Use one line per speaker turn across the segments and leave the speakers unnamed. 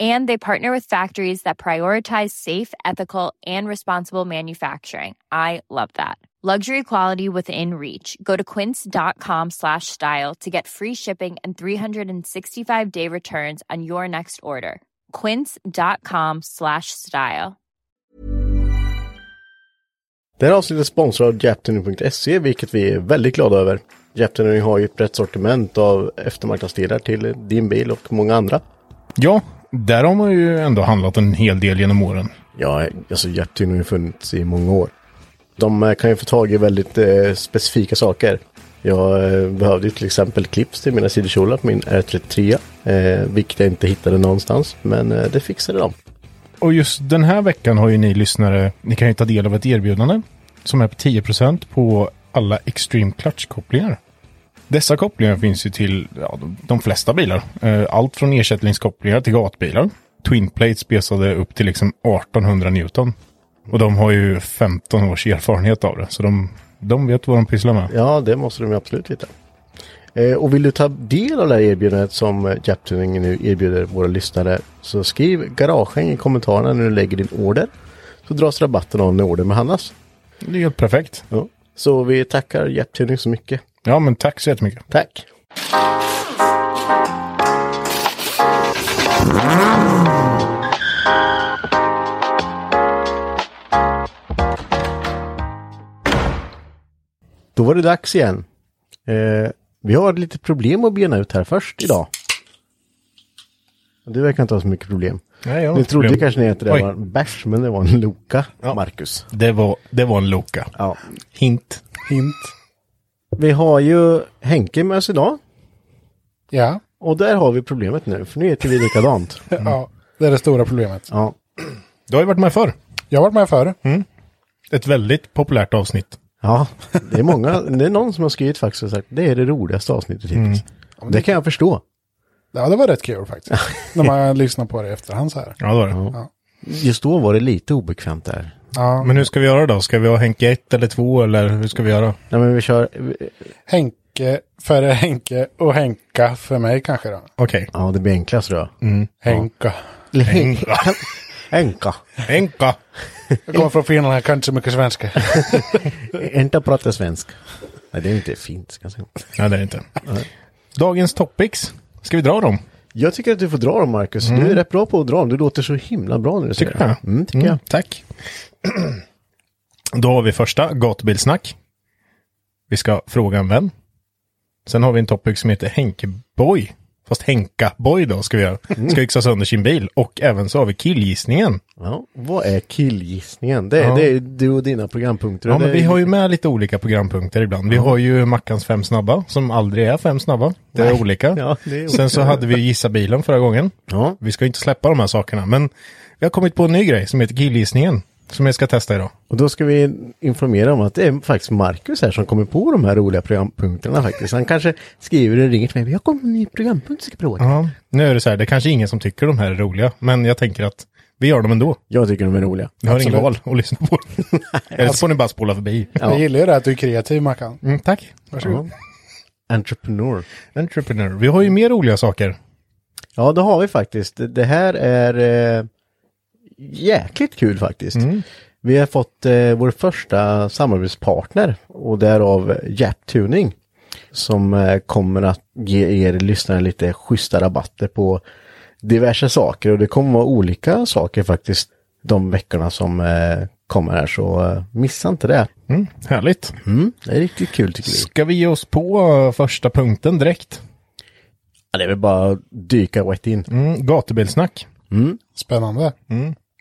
And they partner with factories that prioritize safe, ethical, and responsible manufacturing. I love that. Luxury quality within reach. Go to quince.com slash style to get free shipping and 365 day returns on your next order. Quince.com slash style.
Det här avsnittet är sponsrat av Japtuning.se E, vilket vi är väldigt glada över. Japtuning har ju ett brett sortiment av eftermarknadsdelar till din bil och många andra.
Ja, där har man ju ändå handlat en hel del genom åren.
Ja, alltså Japtuning har ju funnits i många år. De eh, kan ju få tag i väldigt eh, specifika saker. Jag eh, behövde ju till exempel clips till mina sidokjolar på min R33. Eh, vilket jag inte hittade någonstans. Men eh, det fixade de.
Och just den här veckan har ju ni lyssnare, ni kan ju ta del av ett erbjudande som är på 10% på alla Extreme Clutch-kopplingar. Dessa kopplingar finns ju till ja, de- de flesta bilar. Eh, Allt från ersättningskopplingar till gatbilar. Twin plates besade upp till liksom 1800 Newton. Och de har ju 15 års erfarenhet av det, så de, de vet vad de pysslar med.
Ja, det måste de ju absolut hitta. Eh, och vill du ta del av det här erbjudandet som Japtuning nu erbjuder våra lyssnare så skriv garagen i kommentarerna när du lägger din order. Så dras rabatten av när ordern behandlas.
Det är helt perfekt.
Ja. Så vi tackar Japtuning så mycket.
Ja, men tack så jättemycket.
Tack! Då var det dags igen. Eh, vi har lite problem att bena ut här först idag. Du verkar inte ha så mycket problem.
Nej, jag har
Ni
inte
trodde
problem.
kanske ni att det där
Oj.
var en bärs, men det var en Loka,
Ja.
Marcus.
Det var, det var en Loka.
Ja,
Hint.
hint. Vi har ju Henke med oss idag.
Ja,
Och där har vi problemet nu, för nu heter vi likadant.
ja, det är det stora problemet.
Ja,
Du har ju varit med förr.
Jag har varit med förr.
Ett väldigt populärt avsnitt.
ja det är många, det är någon som har skrivit faktiskt och sagt det är det roligaste avsnittet
Mm.
hittills. Det kan jag förstå.
Ja, det var rätt kul faktiskt. När man lyssnar på det i efterhand så här.
Ja, det var det.
Just då var det lite obekvämt där.
Ja.
Men hur ska vi göra då? Ska vi ha Henke 1 eller 2 eller hur ska vi göra?
Nej men vi kör,
Henke för Henke och Henka för mig kanske då.
Okej.
ja det blir enklast tror jag.
Mm.
Henka.
Eller Henka. Henka.
Henka!
Jag kommer från Finland, jag kan inte så mycket svenska.
Inte prata svenska. Nej det är inte fint. Ska jag, säga.
Nej, det är det inte. Dagens topics. Ska vi dra dem?
jag tycker att du får dra dem Marcus. Du är rätt bra på att dra dem. Du låter så himla bra när du säger
Mm. Tycker
det.
du det?
Mm, tycker jag.
Tack. Då har vi första, gatubilsnack. Vi ska fråga en vän. Sen har vi en topic som heter Henkeboy. Fast Henka-boy då ska vi göra.
Mm.
Ska yxa sönder sin bil. Och även så har vi killgissningen.
Ja. Vad är killgissningen? Det är, det är du och dina programpunkter.
Ja,
Det
men
är-
vi har ju med lite olika programpunkter ibland. Vi har ju Mackans fem snabba, som aldrig är fem snabba. Det är olika.
Ja, det är olika.
Sen så hade vi Gissa bilen förra gången.
Ja.
Vi ska ju inte släppa de här sakerna, men vi har kommit på en ny grej som heter killgissningen. Som jag ska testa idag.
Och då ska vi informera om att det är faktiskt Marcus här som kommer på de här roliga programpunkterna faktiskt. Han kanske skriver och ringer till mig. Vi har kommit med en ny programpunkt, ska prova.
Ja. Nu är det så här, det är kanske ingen som tycker de här är roliga, men jag tänker att vi gör dem ändå.
Jag tycker de är roliga.
Vi har
Absolut.
inget val att lyssna på. Eller så får ni bara spola förbi.
Jag gillar ju det att du är kreativ Mackan.
Mm, tack.
Varsågod.
Entrepreneur.
Entrepreneur. Vi har ju mer roliga saker.
Ja, det har vi faktiskt. Det här är eh, jäkligt kul faktiskt. Vi har fått eh, vår första samarbetspartner och därav Jap Tuning som eh, kommer att ge er lyssnare lite schyssta rabatter på diverse saker och det kommer vara olika saker faktiskt de veckorna som eh, kommer här så eh, missa inte det.
Mm, härligt.
Mm, det är riktigt kul tycker vi.
Ska vi ge oss på eh, första punkten direkt?
Ja, det är väl bara att dyka rätt in.
Mm, gatubilsnack.
Spännande.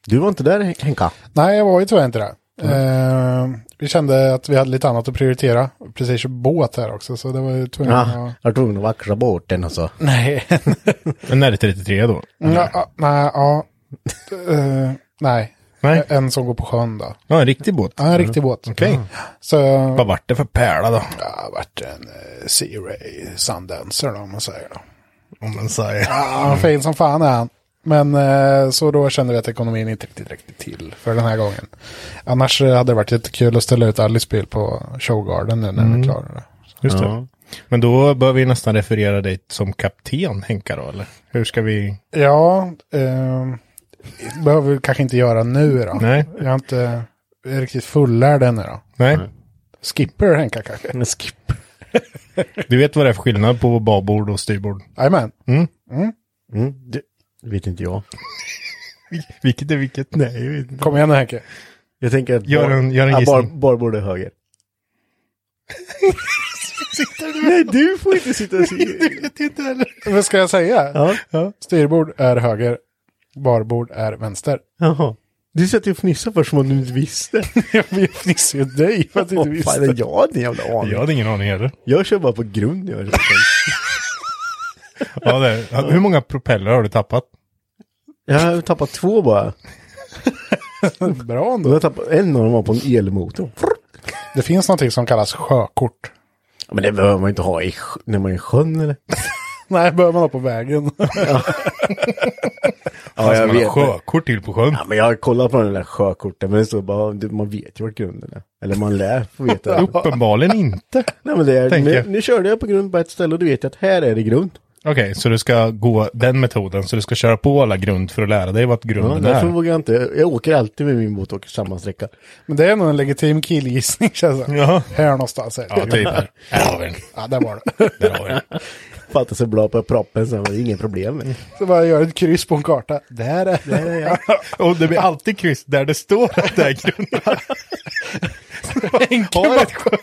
Du var inte där Henka?
Nej, jag var ju tyvärr inte det. Eh, vi kände att vi hade lite annat att prioritera. Precis båt här också, så det var ju tvungen
Ja,
att...
jag var tvungen att vackra bort den alltså.
Nej.
En R33 då.
Ja, ja, nej, ja. Eh, nej.
Nej,
En som går på sjön då.
ja, en riktig båt.
Ja, en riktig båt. Mm.
Okej.
Så
Vad vart det för pärla då?
ja, vart en eh, Sea Ray Sundancer då, om man säger. Då.
Om man säger.
Ja, fin som fan är han. Men eh, så då kände vi att ekonomin inte riktigt räckte till för den här gången. Annars eh, hade det varit jättekul att ställa ut Alice bil på Showgarden nu när vi klarar det.
Just det. Men då bör vi nästan referera dig som kapten Henka då, eller? Hur ska vi?
Ja, eh, det behöver vi kanske inte göra nu då.
Nej.
Jag är inte riktigt fullärd ännu då.
Nej,
Skipper Henka kanske?
Men skip.
du vet vad det är för skillnad på babord och styrbord.
Jajamän.
Mm, det det vet inte jag.
Vilket är vilket? Nej, jag vet inte.
Kom igen nu Henke.
Jag tänker att
Gör en- gör en
ja, bar,
gissning.
bar borde höger. Nej, du får inte sitta och se.
Vad ska jag säga?
Ja, ja.
Styrbord är höger, barbord är vänster.
Jaha. Du satt ju och fnissade först som om du inte visste.
Jag fnissar ju dig för att du inte
Åh, fan,
visste.
jag hade en jävla aning.
Jag hade ingen aning heller.
Jag kör bara på grund. Jag kör.
Ja, det är. Hur många propeller har du tappat?
jag har tappat två bara.
Bra
Och jag
ändå.
har tappat en av dem var på en elmotor.
Det finns någonting som kallas sjökort.
Ja, Men det behöver man ju inte ha i, sj- när man är i sjön eller?
Nej, behöver man ha på vägen.
Ja,
man har sjökort till på sjön.
Ja, men jag har kollat på den där sjökorten, men det står bara, du, man vet ju vart grunden är. Eller man lär få veta det.
Uppenbarligen inte.
Nej, men det är,
Tänker
nu,
jag.
nu körde jag på grund på ett ställe och du vet ju att här är det grund.
Okej, så du ska gå den metoden. Så du ska köra på alla grund för att lära dig vad
Ja,
grunden
därför
är.
vågar jag inte, jag åker alltid med min båt och åker samma sträcka.
Men det är nog en legitim killgissning känns det.
Ja.
Här någonstans. är det.
Ja, typ. Här Här har vi den.
ja, där var det.
Där har vi den.
Fattar sig bra på proppen sen, det är inget problem.
Mm.
med.
Så bara gör ett kryss på en karta. Där är det.
Och det blir alltid kryss där det står att det är grunden.
Henke,
Har ett
mappar,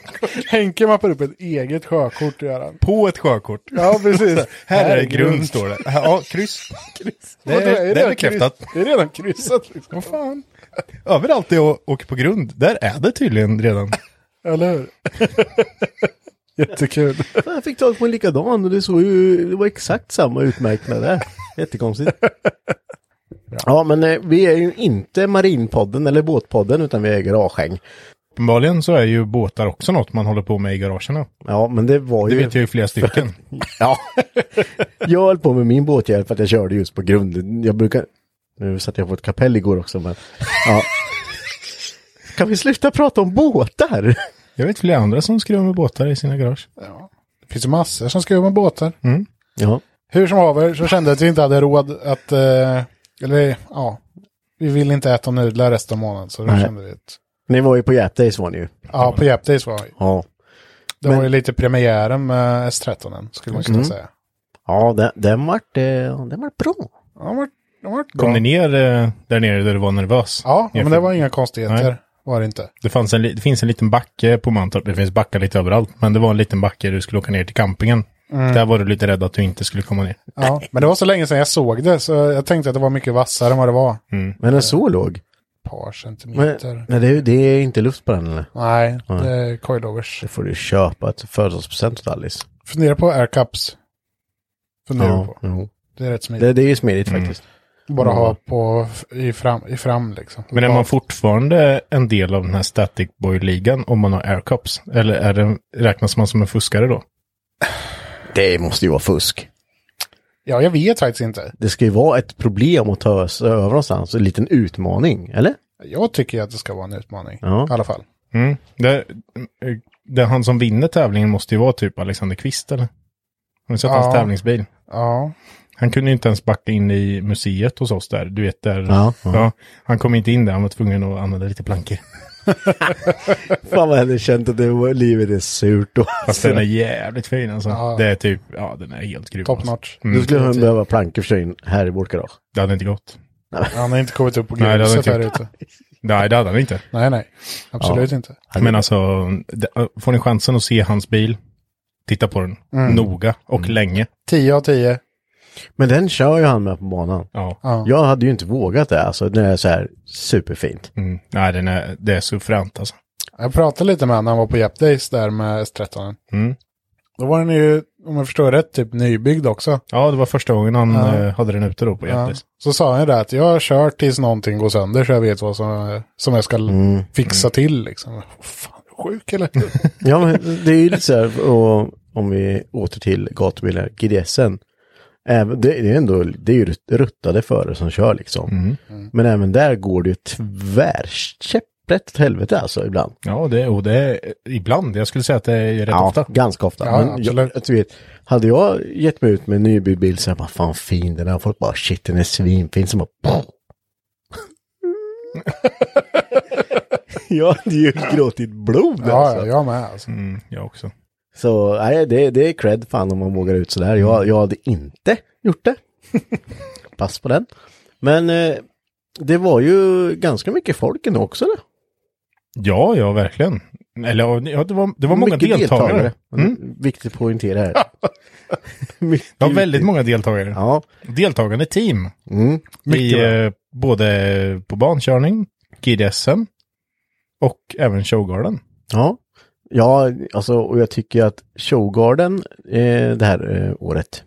Henke mappar upp ett eget sjökort, gör han.
På ett sjökort.
Ja, precis.
Här, är grund, står det. Ja, kryss. Det
Och då
är, det är
redan
bekräftat.
kryss- Det är redan kryssat liksom.
Vad fan. Överallt där jag åker på grund, där är det tydligen redan.
Eller hur? Jättekul.
Fan, Jag fick tag på en likadan och det såg ju, det var exakt samma utmärknad där. Jättekonstigt. Ja, men eh, vi är ju inte Marinpodden eller Båtpodden, utan vi är Garagehäng.
Uppenbarligen så är ju båtar också något man håller på med i garagerna.
Ja, men det var
Det
ju...
vet jag ju flera stycken.
Ja. jag höll på med min båthjälp för att jag körde just på grunden. Jag brukar... Nu satt jag på ett kapell igår också, men... Ja. Kan vi sluta prata om båtar?
Jag vet flera andra som skruvar med båtar i sina garage.
Det finns ju massor som ska jobba med båtar.
Ja.
Hur som haver så kände jag att vi inte hade råd att, eh, eller ja, vi vill inte äta nudlar resten av månaden. Så då
Nej.
kände vi att,
Ni var ju på Jap Days var ni ju.
ja på Jap Days var vi.
Ja.
Det var ju lite premiären med S13 -en, skulle man kunna
Mm.
säga.
Ja, den, den vart eh, den vart bra.
Ja, de var, de var bra.
Kom ni ner eh, där nere där du var nervös?
Ja, men det
Nerför-
var inga konstigheter.
Nej.
Var det inte.
Det, fanns en, li- det finns en liten backe på Mantorp. Det finns backar lite överallt. Men det var en liten backe du skulle åka ner till campingen. Där var du lite rädd att du inte skulle komma ner.
Ja, men det var så länge sedan jag såg det så jag tänkte att det var mycket vassare än vad det var.
Men den så låg.
Ett par
Men,
centimeter.
nej, det är, ju- det är inte luft på den eller?
Nej, det är coilovers.
Det får du köpa ett födelsedagspresent åt Alice.
Fundera på aircups. Fundera på. Mm.
jo.
Det är rätt smidigt.
Det, det är ju smidigt faktiskt.
Bara ha på i fram, i fram liksom.
Men är man fortfarande en del av den här Static Boy-ligan om man har aircups? Eller är det, räknas man som en fuskare då?
Det måste ju vara fusk.
Ja, jag vet faktiskt inte.
Det ska ju vara ett problem att ta sig över någonstans, en liten utmaning, eller?
Jag tycker att det ska vara en utmaning.
Ja.
I alla fall.
Mm. Det, eh, Det, han som vinner tävlingen måste ju vara typ Alexander Kvist eller? Har ni sett
Ja.
hans tävlingsbil?
Ja.
Han kunde ju inte ens backa in i museet hos oss där. Du vet där.
Ja, ja.
han kom inte in där. Han var tvungen att använda lite plankor.
Fan vad jag hade känt att det var, livet är surt då.
Fast den är jävligt fin alltså.
Ja.
Det är typ, ja den är helt grym.
Top
alltså.
notch.
Nu
Mm.
skulle han behöva plankor för sig in här i vårt garage.
Det hade inte gått.
Han har inte kommit upp på
Nej, det har
gruset
inte
här
gjort.
ute.
Nej, det hade han inte.
Nej, nej. Absolut inte.
Men alltså, det- får ni chansen att se hans bil, titta på den noga och länge.
10 av 10.
Men den kör ju han med på banan.
Ja.
Ja.
Jag hade ju inte vågat det alltså. Den är så här superfint.
Mm. Nej, den är, det är suveränt alltså.
Jag pratade lite med honom när han var på Jap Days där med S13.
Mm.
Då var den ju, om jag förstår rätt, typ nybyggd också.
Ja, det var första gången han
Ja.
eh, hade den ute då på
Ja.
Jättes.
Så sa han ju det att jag har kört tills någonting går sönder så jag vet vad som, som jag ska
Mm.
fixa till liksom. Fan, är du sjuk eller?
Ja, men det är ju lite så här, och om vi åter till gatubilar, GDSen. Även, det, det är ändå, det är ju rut- ruttade förare som kör liksom.
Mm.
Men även där går det ju tvärkäpprätt åt helvete alltså ibland.
Ja, det, och det är ibland. Jag skulle säga att det är rätt ofta.
ganska ofta.
Ja,
men jag,
absolut.
att du vet, hade jag gett mig ut med en nybyggd bil så här, vad fan fin den är. Folk bara, shit den är svinfin. Som bara, jag hade ju gråtit blod
Ja, ja, jag med alltså.
Mm, jag också.
Så nej, det, det är cred fan om man vågar ut sådär. Jag, jag hade inte gjort det. Pass på den. Men eh, det var ju ganska mycket folk ändå också. Då.
Ja, ja, verkligen. Eller ja, det var, det var många
Mycket
deltagare. Mm.
Mm. Viktigt att poängtera här. mycket,
Det var väldigt många deltagare.
Ja,
Deltagande team.
mm.
I,
mycket.
eh, både på bankörning, GDSen och även Showgarden.
Ja. ja, alltså och jag tycker att Showgarden eh, det här eh, året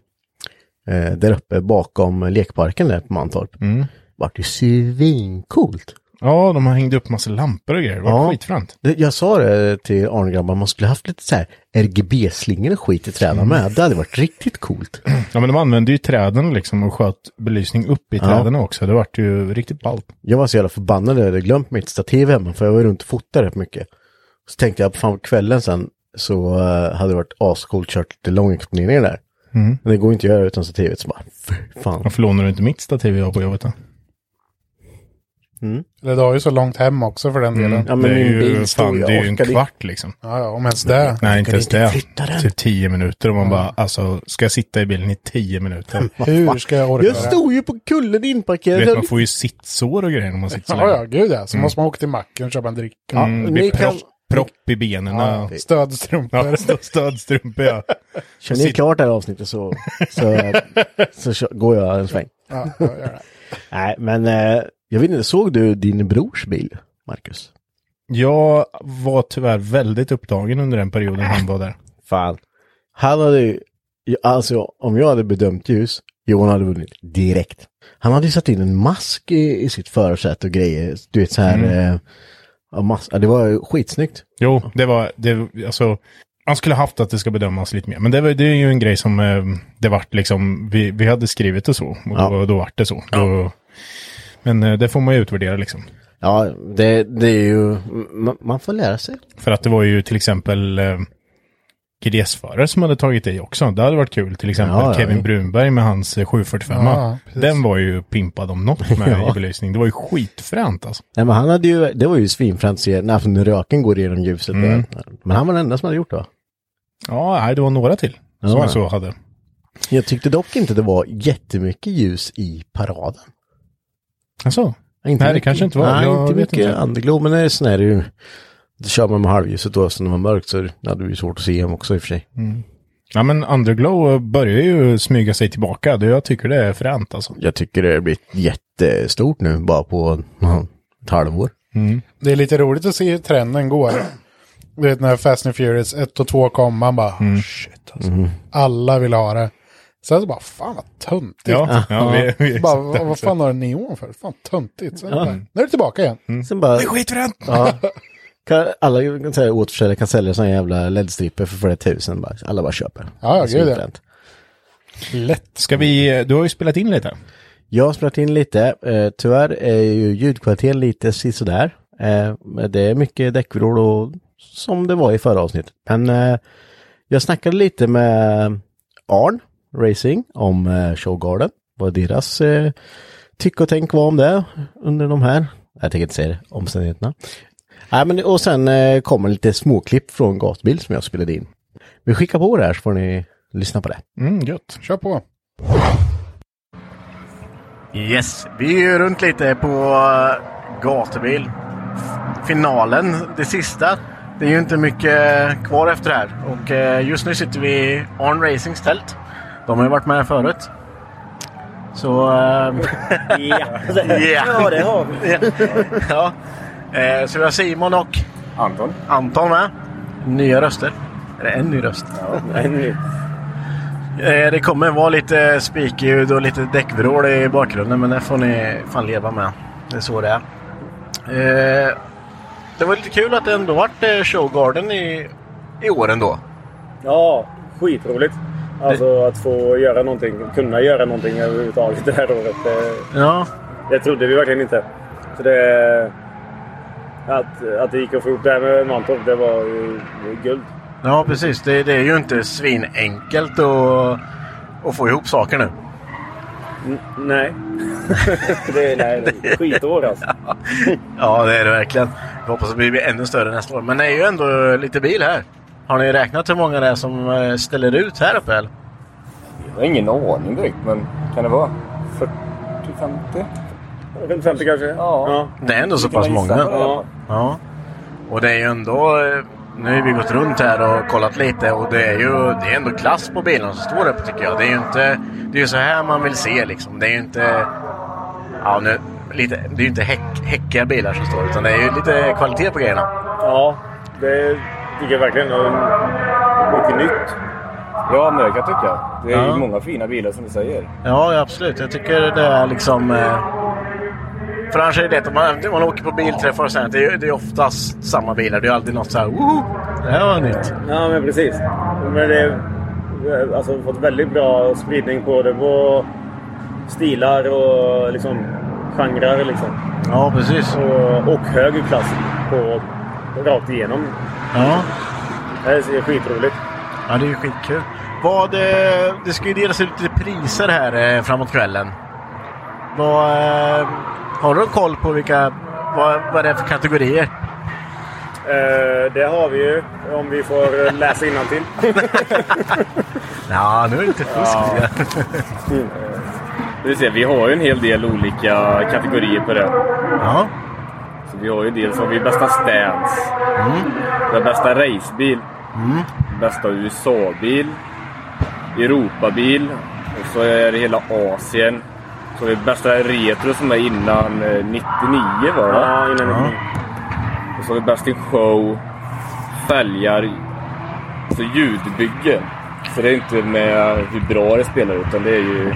eh, där uppe bakom lekparken där på Mantorp
Mm.
vart ju svincoolt.
Ja, de har hängt upp massa lampor och grejer. Det var
Ja.
skitfränt.
Det- Jag sa det till Arne-grabbar, man skulle haft lite så här RGB-slingor och skit i träna med. Det hade varit riktigt coolt.
Ja, men de använde ju träden liksom och sköt belysning upp i
Ja.
träden också. Det vart ju riktigt ballt.
Jag var så jävla förbannad, jag hade glömt mitt stativ hemma för jag var runt och fotade rätt mycket. Så tänkte jag, fan på kvällen sen så eh, hade det varit ascoolt kört lite långexponeringar där. Men det går inte att göra utan stativet. Så bara, fy fan.
Varför lånar du inte mitt stativ jag har på jobbet då?
Eller du har ju så långt hem också för den delen.
Ja, men
det är
min
ju,
bil står
fan,
ju-
det är ju en
orkar det-
kvart liksom.
Ja, ja, om ens det.
Nej, inte
kan
ens
inte
det.
flytta den.
Typ tio minuter och man bara, alltså, ska jag sitta i bilen i tio minuter?
Hur ska jag orka
Jag
det?
stod ju på kullen
Du
inparkerad.
vet, man får ju sittsår och grejer när man sitter så
Ja, ja,
länge.
gud ja. Så måste man åka till macken och köpa en dricka.
Mm,
ni
det blir
kan-
propp, propp i benen. Ja,
Stödstrumpor.
ja stö- stödstrumpor ja.
Känner ni klart det här avsnittet så, så, så, kö- går jag en sväng.
Ja, ja, gör det.
Nej, men eh, jag vet inte, såg du din brors bil, Marcus?
Jag var tyvärr väldigt upptagen under den perioden han var där.
Fan. Han hade ju, alltså om jag hade bedömt ljus, Johan hade vunnit direkt. Han hade ju satt in en mask i, i sitt förarsäte och grejer. Du vet så här,
Mm.
eh, ja, mas- ja, det var ju skitsnyggt.
Jo, det var, det, alltså, man skulle haft att det ska bedömas lite mer. Men det, var, det är ju en grej som eh, det vart liksom, vi, vi hade skrivit det så och
Ja.
då, då vart det så. Då, men eh, det får man ju utvärdera liksom.
Ja, det, det är ju, man, man får lära sig.
För att det var ju till exempel eh, GDS-förare som hade tagit i också. Det hade varit kul. Till exempel
Ja, ja,
Kevin
ja.
Brunberg med hans eh, 745.
Ja, precis.
Den var ju pimpad om något med
Ja.
i belysning. Det var ju skitfränt alltså.
Nej, men han hade ju, det var ju svinfränt att se när när röken går igenom ljuset.
Mm.
Där. Men han var den enda som hade gjort det va?
Ja, nej, det var några till som
Ja.
jag så hade.
Jag tyckte dock inte det var jättemycket ljus i paraden.
Alltså,
Inte
Nej, det
mycket.
kanske inte var.
Nej,
Jag
inte
vet
mycket
inte.
underglow, men det är sån här, det är ju- då kör man med halvljuset då, så när det var mörkt så hade det ju svårt att se hem också i och för sig.
ja men Underglow börjar ju smyga sig tillbaka. Det, jag tycker det är fränt alltså.
Jag tycker det har blivit jättestort nu, bara på ja, ett halvår.
Det är lite roligt att se hur trenden går. Du vet när Fast and Furious 1 och 2 kom, man bara
Mm.
shit alltså. Alla vill ha det. Sen så bara fan vad töntigt.
Ja, ja, vi, vi,
Bara, vad, vad fan har du neon för? Fan töntigt. Sen bara, nu är det tillbaka igen.
Mm,
Sen bara,
det är skitfränt!
ja, kan, alla kan säga, återförsäljare kan sälja såna jävla LED-strippor för flera tusen, bara, alla bara köper.
ja,
Det är
gud, ja.
fränt.
Lätt.
Ska vi, eh, du har ju spelat in lite.
Jag har spelat in lite. Eh, tyvärr är ju ljudkvaliteten lite sisådär. Eh, men det är mycket däckvrål och som det var i förra avsnittet. Men eh, jag snackade lite med Arn Racing om eh, Showgarden. Vad deras eh, tycke och tänk var om det under de här, jag tänker inte säga det, omständigheterna. Nej, men, och sen eh, kommer lite småklipp från gatbil som jag spelade in. Vi skickar på det här så får ni lyssna på det.
Mm, gött.
Kör på.
Yes, vi är ju runt lite på eh, gatubil. F- Finalen, det sista. Det är ju inte mycket kvar efter det här. Och eh, just nu sitter vi i Arn Racings tält. De har ju varit med här förut. Så... eh,
Ja,
Ja,
det har vi.
ja. Eh, Så vi har Simon och
Anton.
Anton med. Nya röster. Är det en ny röst?
Ja, nej,
Eh, Det kommer vara lite spikljud och lite däckvrål i bakgrunden men det får ni fan leva med. Det är så det är. Eh, Det var lite kul att det ändå vart eh, Showgarden i, i år ändå.
ja skitroligt. Alltså att få göra någonting, kunna göra någonting överhuvudtaget det här året. Det,
Ja,
det trodde vi verkligen inte. Så det, att, att det gick att få ihop det här med Mantorp, det var ju det var guld.
ja precis. Det, det är ju inte svinenkelt att, att få ihop saker nu.
N- nej. det, nej, det är skitår alltså.
Ja, det är det verkligen. Jag hoppas att det blir ännu större nästa år. Men det är ju ändå lite bil här. Har ni räknat hur många det är som eh, ställer ut här uppe? Eller?
Jag har ingen aning direkt, men kan det vara 40-50?
Runt 50 kanske?
Ja.
Det är ändå så
Skulle
pass
kunna
många.
gissa på det.
Ja.
Ja. Och det är ju ändå... eh, Nu har vi gått runt här och kollat lite och det är ju det är ändå klass på bilarna som står där uppe tycker jag. Det är ju inte... Det är ju så här man vill se liksom. Det är ju inte... Ja, nu... Lite, det är ju inte häck, häckiga bilar som står utan det är ju lite kvalitet på grejerna.
Ja, det tycker jag verkligen. Och Mycket nytt.
Ja, men det kan jag tycka. Det är
Ja.
ju många fina bilar som du säger.
Ja, absolut. Jag tycker det är liksom... Eh, för annars är det det att man, man åker på bilträffar och sånt. Det är, ju- det är oftast samma bilar. Det är ju alltid något så här... Woho! Det här var nytt.
Ja, men precis. Men det har alltså, fått väldigt bra spridning både på stilar och liksom, genrer. Liksom.
Ja, precis.
Och, och hög klass på, rakt igenom.
Ja.
Det här är skitroligt.
Ja, det är ju skitkul. Vad, eh, det ska ju delas ut lite priser här eh, framåt kvällen. Vad, eh, har du koll på vilka, vad, vad det är för kategorier?
Eh, det har vi ju, om vi får eh, läsa innantill.
Ja, nu är det lite fusk. Ja.
Du ser, vi har ju en hel del olika kategorier på det.
ja.
Så vi har ju dels har vi bästa stands, vi har bästa racebil, bästa USA-bil, Europabil och så är det hela Asien. Så har vi bästa retro som är innan eh, 99 var det?
Ja, innan
Ja.
vi...
Och så har vi Best in Show, fälgar, så ljudbygge. Så det är inte med hur bra det spelar utan det är ju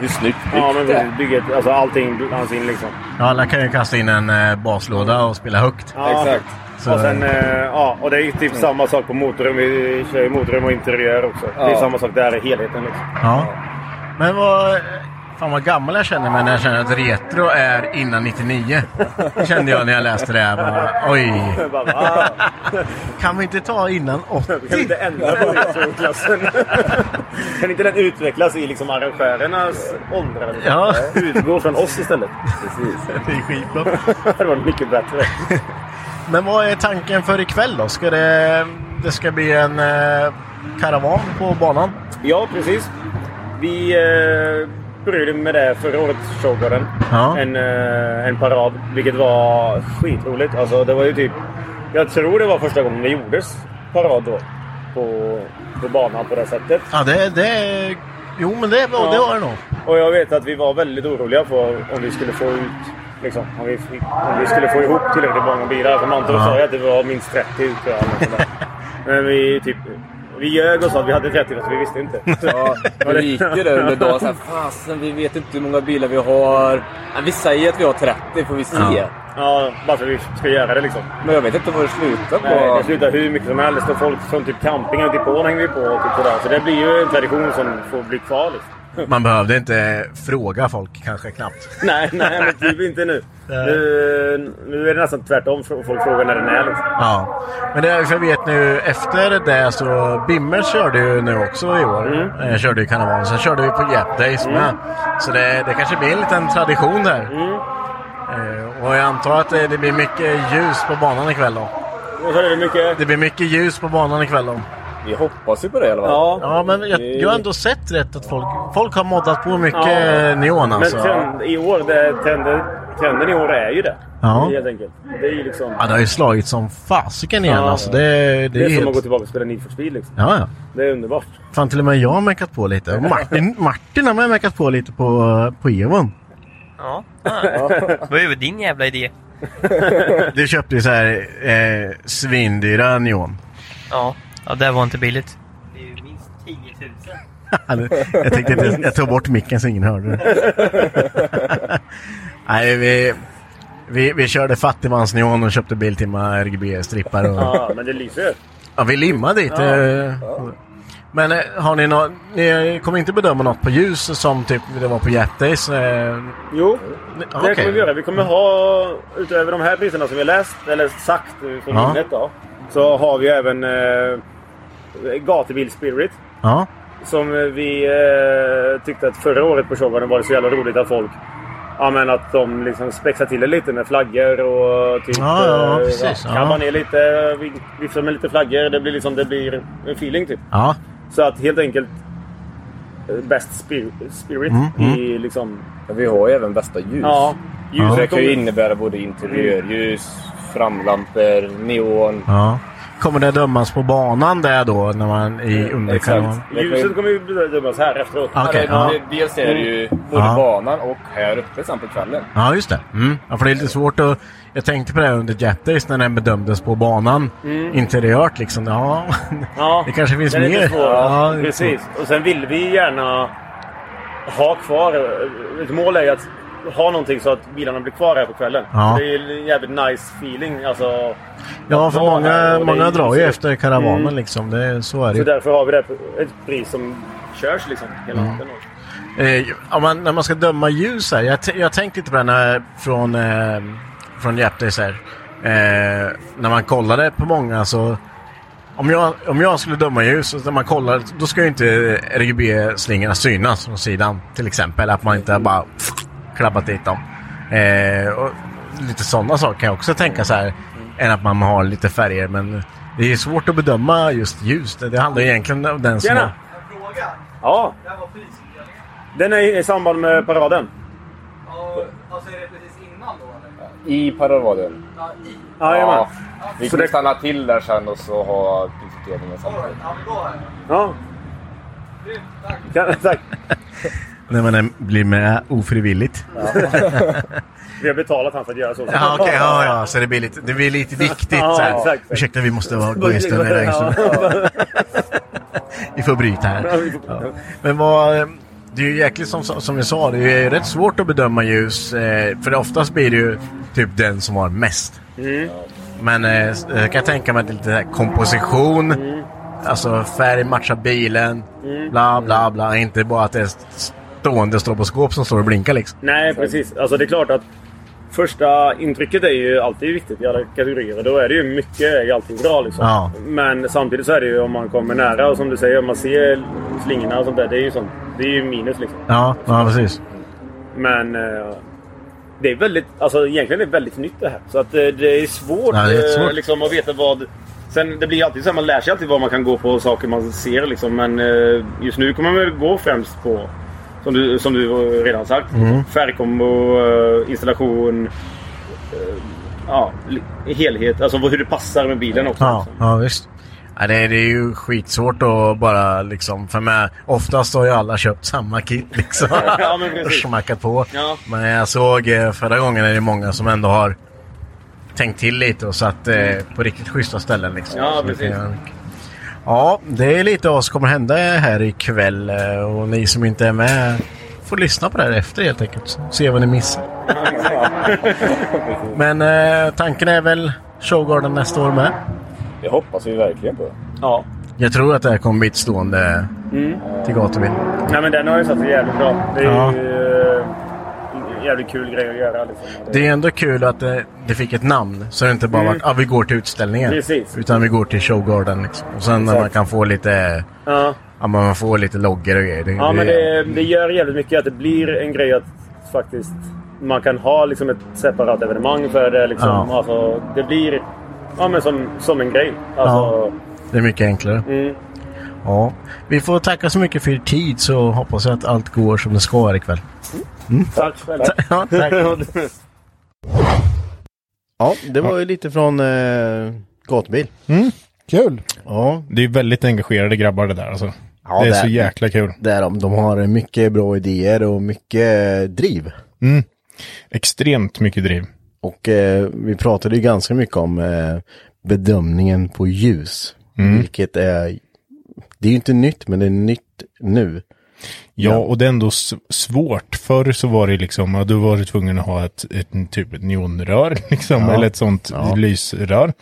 hur snyggt
Ja,
byggt
men
det
vi
är.
bygger alltså, allting blandas in liksom.
alla kan ju kasta in en eh, baslåda och spela högt.
Ja.
Exakt.
Så-
Och, sen, eh, ja, och det är ju typ samma sak på motorrum. Vi kör ju motorrum och interiör också. Det är
Ja.
samma sak där, helheten liksom.
Ja. Men vad... eh, Fan vad gammal jag känner mig när jag känner att retro är innan 99. Kände jag när jag läste det här. Bara, Oj!
Jag bara, va?
Kan vi inte ta innan 80?
Kan vi inte ändra på retroklassen? kan inte den utvecklas i liksom arrangörernas åldrar? Liksom?
Ja.
Utgå från oss istället.
Det är skitbra.
Det var mycket bättre.
Men vad är tanken för ikväll då? Ska det, det ska bli en eh, karavan på banan?
Ja, precis. Vi eh, började med det förra året, Showgarden.
Ja.
En, eh, en parad, vilket var skitroligt. Alltså, det var ju typ... Jag tror det var första gången det gjordes parad då. På, på banan på det sättet.
Ja, det, det Jo, men det, det var det nog.
Och jag vet att vi var väldigt oroliga för om vi skulle få ut... Liksom, om, vi fick, om vi skulle få ihop tillräckligt många bilar. Som Anton
Ja.
sa ju att det var minst 30 ute. eller något sånt där. Men vi typ... Vi ljög och sa att vi hade 30 så vi visste inte.
Ja,
Ja,
det gick ju där under dagen såhär, fasen vi vet inte hur många bilar vi har. Ja, vi säger att vi har 30 får vi se.
Ja.
Ja, bara för att vi ska göra det liksom.
Men jag vet inte vad det slutar på.
Nej, det slutar hur mycket som helst och folk från typ campingen till på hänger vi på och typ sådär. Så det blir ju en tradition som får bli kvar liksom.
Man behövde inte fråga folk kanske knappt.
Nej, nej, men typ inte nu. nu. Nu är det nästan tvärtom. Folk frågar när den är liksom.
Ja. Men det, är- för jag vet nu efter det så Bimmer körde ju nu också i år. Eh, körde ju karnevalen. Sen körde vi på Gap Days med. Så det, det kanske blir en liten tradition där. Eh, och jag antar att det, det blir mycket ljus på banan ikväll då.
Och så är det mycket...
Det blir mycket ljus på banan ikväll då.
Vi hoppas ju på det i alla fall.
Ja.
Ja, men jag, jag har ändå sett rätt att folk, folk har moddat på mycket
Ja.
neon
Men
alltså.
tänd, i år, det, tänden, tänden i år är ju det.
Ja.
Helt enkelt. Det är ju liksom...
Ja, det har ju slagit som fasiken igen
Ja.
alltså. Det, det,
Det är som att
helt...
gå tillbaka och spela Need for Speed liksom.
Ja, ja.
Det är underbart.
Fan, till och med jag har meckat på lite. Och Martin, Martin har med meckat på lite på, på Evon.
Ja. Ah. ja. Vad är din jävla idé?
Du köpte ju så här eh, svindyra neon.
Ja. ja, det var inte billigt. Det är ju minst 10 000.
Alltså, Jag tänkte inte, jag tog bort micken så ingen hörde det. Nej, vi, vi, vi körde fattigmansneon och köpte Biltema RGB-strippar. Och,
Ja, men det lyser ju.
ja, vi limmade dit. eh, Men eh, har ni något, ni kommer inte bedöma något på ljus som typ det var på Gap Days? Eh,
Jo, det
okej.
kommer vi göra. Vi kommer ha, utöver de här priserna som vi läst, eller sagt eh, från
Ja.
minnet då, så har vi även eh, Gatubil Spirit.
Ja.
Som vi eh, tyckte att förra året på showgarden var det så jävla roligt att folk Ja men att de liksom spexar till det lite med flaggor och typ...
Ja, ja,
eh,
precis, ja.
Kammar ner lite, vi- viftar med lite flaggor. Det blir liksom, det blir en feeling typ.
ja.
Så att helt enkelt... eh, Best spir- spirit
Mm,
i liksom...
Men Vi har ju även bästa ljus.
Ja.
Så Det
Ljuset
kan ju
kommer...
innebära både interiörljus, framlampor, neon.
Ja. Kommer det dömas på banan där då? När man i
Eh,
underkameran?
Exakt. Det kan ju-
Ljuset kommer ju bedömas här efteråt.
Ja, Okej,
Ja, det-
ja.
Dels är det ju både
Ja.
banan och här uppe sen på kvällen.
Ja, just det. Mm. Ja, för det är lite svårt att... Jag tänkte på det här under Jet Days när den bedömdes på banan.
Mm.
Interiört liksom. Ja.
Ja,
Det kanske finns
den är
mer.
lite svår.
Ja,
Precis. Och sen vill vi gärna ha kvar... Ett mål är ju att ha någonting så att bilarna blir kvar här på kvällen.
Ja.
Det är ju en jävligt nice feeling. Alltså,
Ja, för
Ja,
många,
och det
många
är Mm.
drar ju
ljusigt.
efter karavanen liksom. Det, så är det
så
ju.
därför har vi det på ett pris som körs liksom hela
Mm.
natten.
Eh, om man, när man ska döma ljus här. Jag, t- jag tänkte lite på den här från, eh, från Japtis här. Eh, när man kollade på många så... Om jag, om jag skulle döma ljus, och när man kollar, då ska ju inte RGB-slingorna synas från sidan. Till exempel att man inte bara klabbat dit dem. Eh, och lite sådana saker kan jag också tänka så här. Än att man har lite färger. Men det är svårt att bedöma just ljus. Det, det handlar egentligen om den som...
Tjena! Ja. Den är i samband med paraden.
I paravaden.
Jajamän.
Vi
Så
kan
det-
stanna till där sen och så ha diskuteringen samtidigt.
Ja. Kan, tack.
När man blir med ofrivilligt.
Vi har betalat han för att göra så.
Ja, okej. ja, ja. Så det blir lite, det blir lite viktigt.
Ja,
så här.
exakt, exakt.
Ursäkta, vi måste vara- gå en stund iväg. så- Vi får bryta här. Ja. Men vad... eh, Det är ju jäkligt som, som vi sa, det är ju rätt svårt att bedöma ljus. eh, För det oftast blir det ju typ den som har mest. Men eh, s- jag kan tänka mig att det är lite så här komposition. Alltså färg matchar bilen. Bla, bla, bla. Inte bara att det är st- stående stroboskop som står och blinkar liksom.
Nej, precis. Alltså det är klart att första intrycket är ju alltid viktigt i alla kategorier. Då är det ju mycket, är alltid bra liksom.
Ja.
Men samtidigt så är det ju om man kommer nära och som du säger, om man ser slingorna och sånt där. Det är ju sånt. Det är ju minus liksom.
Ja, ja precis.
Men eh, det är väldigt, alltså egentligen är det väldigt nytt det här. Så att eh, det är svårt,
Ja, det är jättesvårt.
eh, liksom att veta vad... Sen det blir alltid så här, man lär sig alltid vad man kan gå på och saker man ser liksom. Men eh, just nu kommer man väl gå främst på, som du, som du eh, redan sagt,
Mm.
färgkombo, eh, installation, eh, ja, li- helhet. Alltså hur det passar med bilen också.
Ja,
liksom.
ja visst. Ja, det, är, det är ju skitsvårt att bara liksom... För med, oftast har ju alla köpt samma kit liksom.
Ja, men precis.
och smackat på.
Ja.
Men jag såg eh, förra gången är det många som ändå har tänkt till lite och satt eh, på riktigt schyssta ställen. Liksom.
Ja,
Så det
precis.
kan jag- Ja, det är lite vad som kommer hända här ikväll. eh, Och ni som inte är med får lyssna på det här efter helt enkelt. så Se vad ni missar. Men eh, tanken är väl Showgarden nästa år med?
Det hoppas vi verkligen på.
Ja.
Jag tror att det här kommer bli ett stående
Mm.
till gatubil.
Nej men den har ju satt sig jävligt bra. Det är
Ja.
ju eh, jävligt kul grej att göra liksom.
Det är ändå kul att det, det fick ett namn. Så det inte bara
Mm.
vart ah, vi går till utställningen.
Precis.
Utan vi går till Showgarden. Liksom. Och sen när man
Exakt.
kan få lite,
Ja.
ja, man får lite loggor och grejer. Det,
Ja, men det, det gör jävligt mycket att det blir en grej att faktiskt man kan ha liksom ett separat evenemang för det. Liksom.
Ja.
Alltså, det blir ja, men som, som en grej. Alltså,
det är mycket enklare.
mm,
Ja. Vi får tacka så mycket för er tid så hoppas jag att allt går som det ska här ikväll.
tack själv.
Ja, tack.
Ja, det var ju lite från eh, gatubil.
Kul!
Ja,
Det är väldigt engagerade grabbar det där alltså.
Ja,
det är
det
så
är-
jäkla kul.
det är de. De har mycket bra idéer och mycket eh, driv.
Extremt mycket driv.
Och eh, vi pratade ju ganska mycket om eh, bedömningen på ljus. Vilket är, det är ju inte nytt men det är nytt nu.
Ja, och det är ändå s- svårt. Förr så var det liksom, ja, du var du tvungen att ha ett, ett typ ett neonrör, liksom, eller ett sånt lysrör.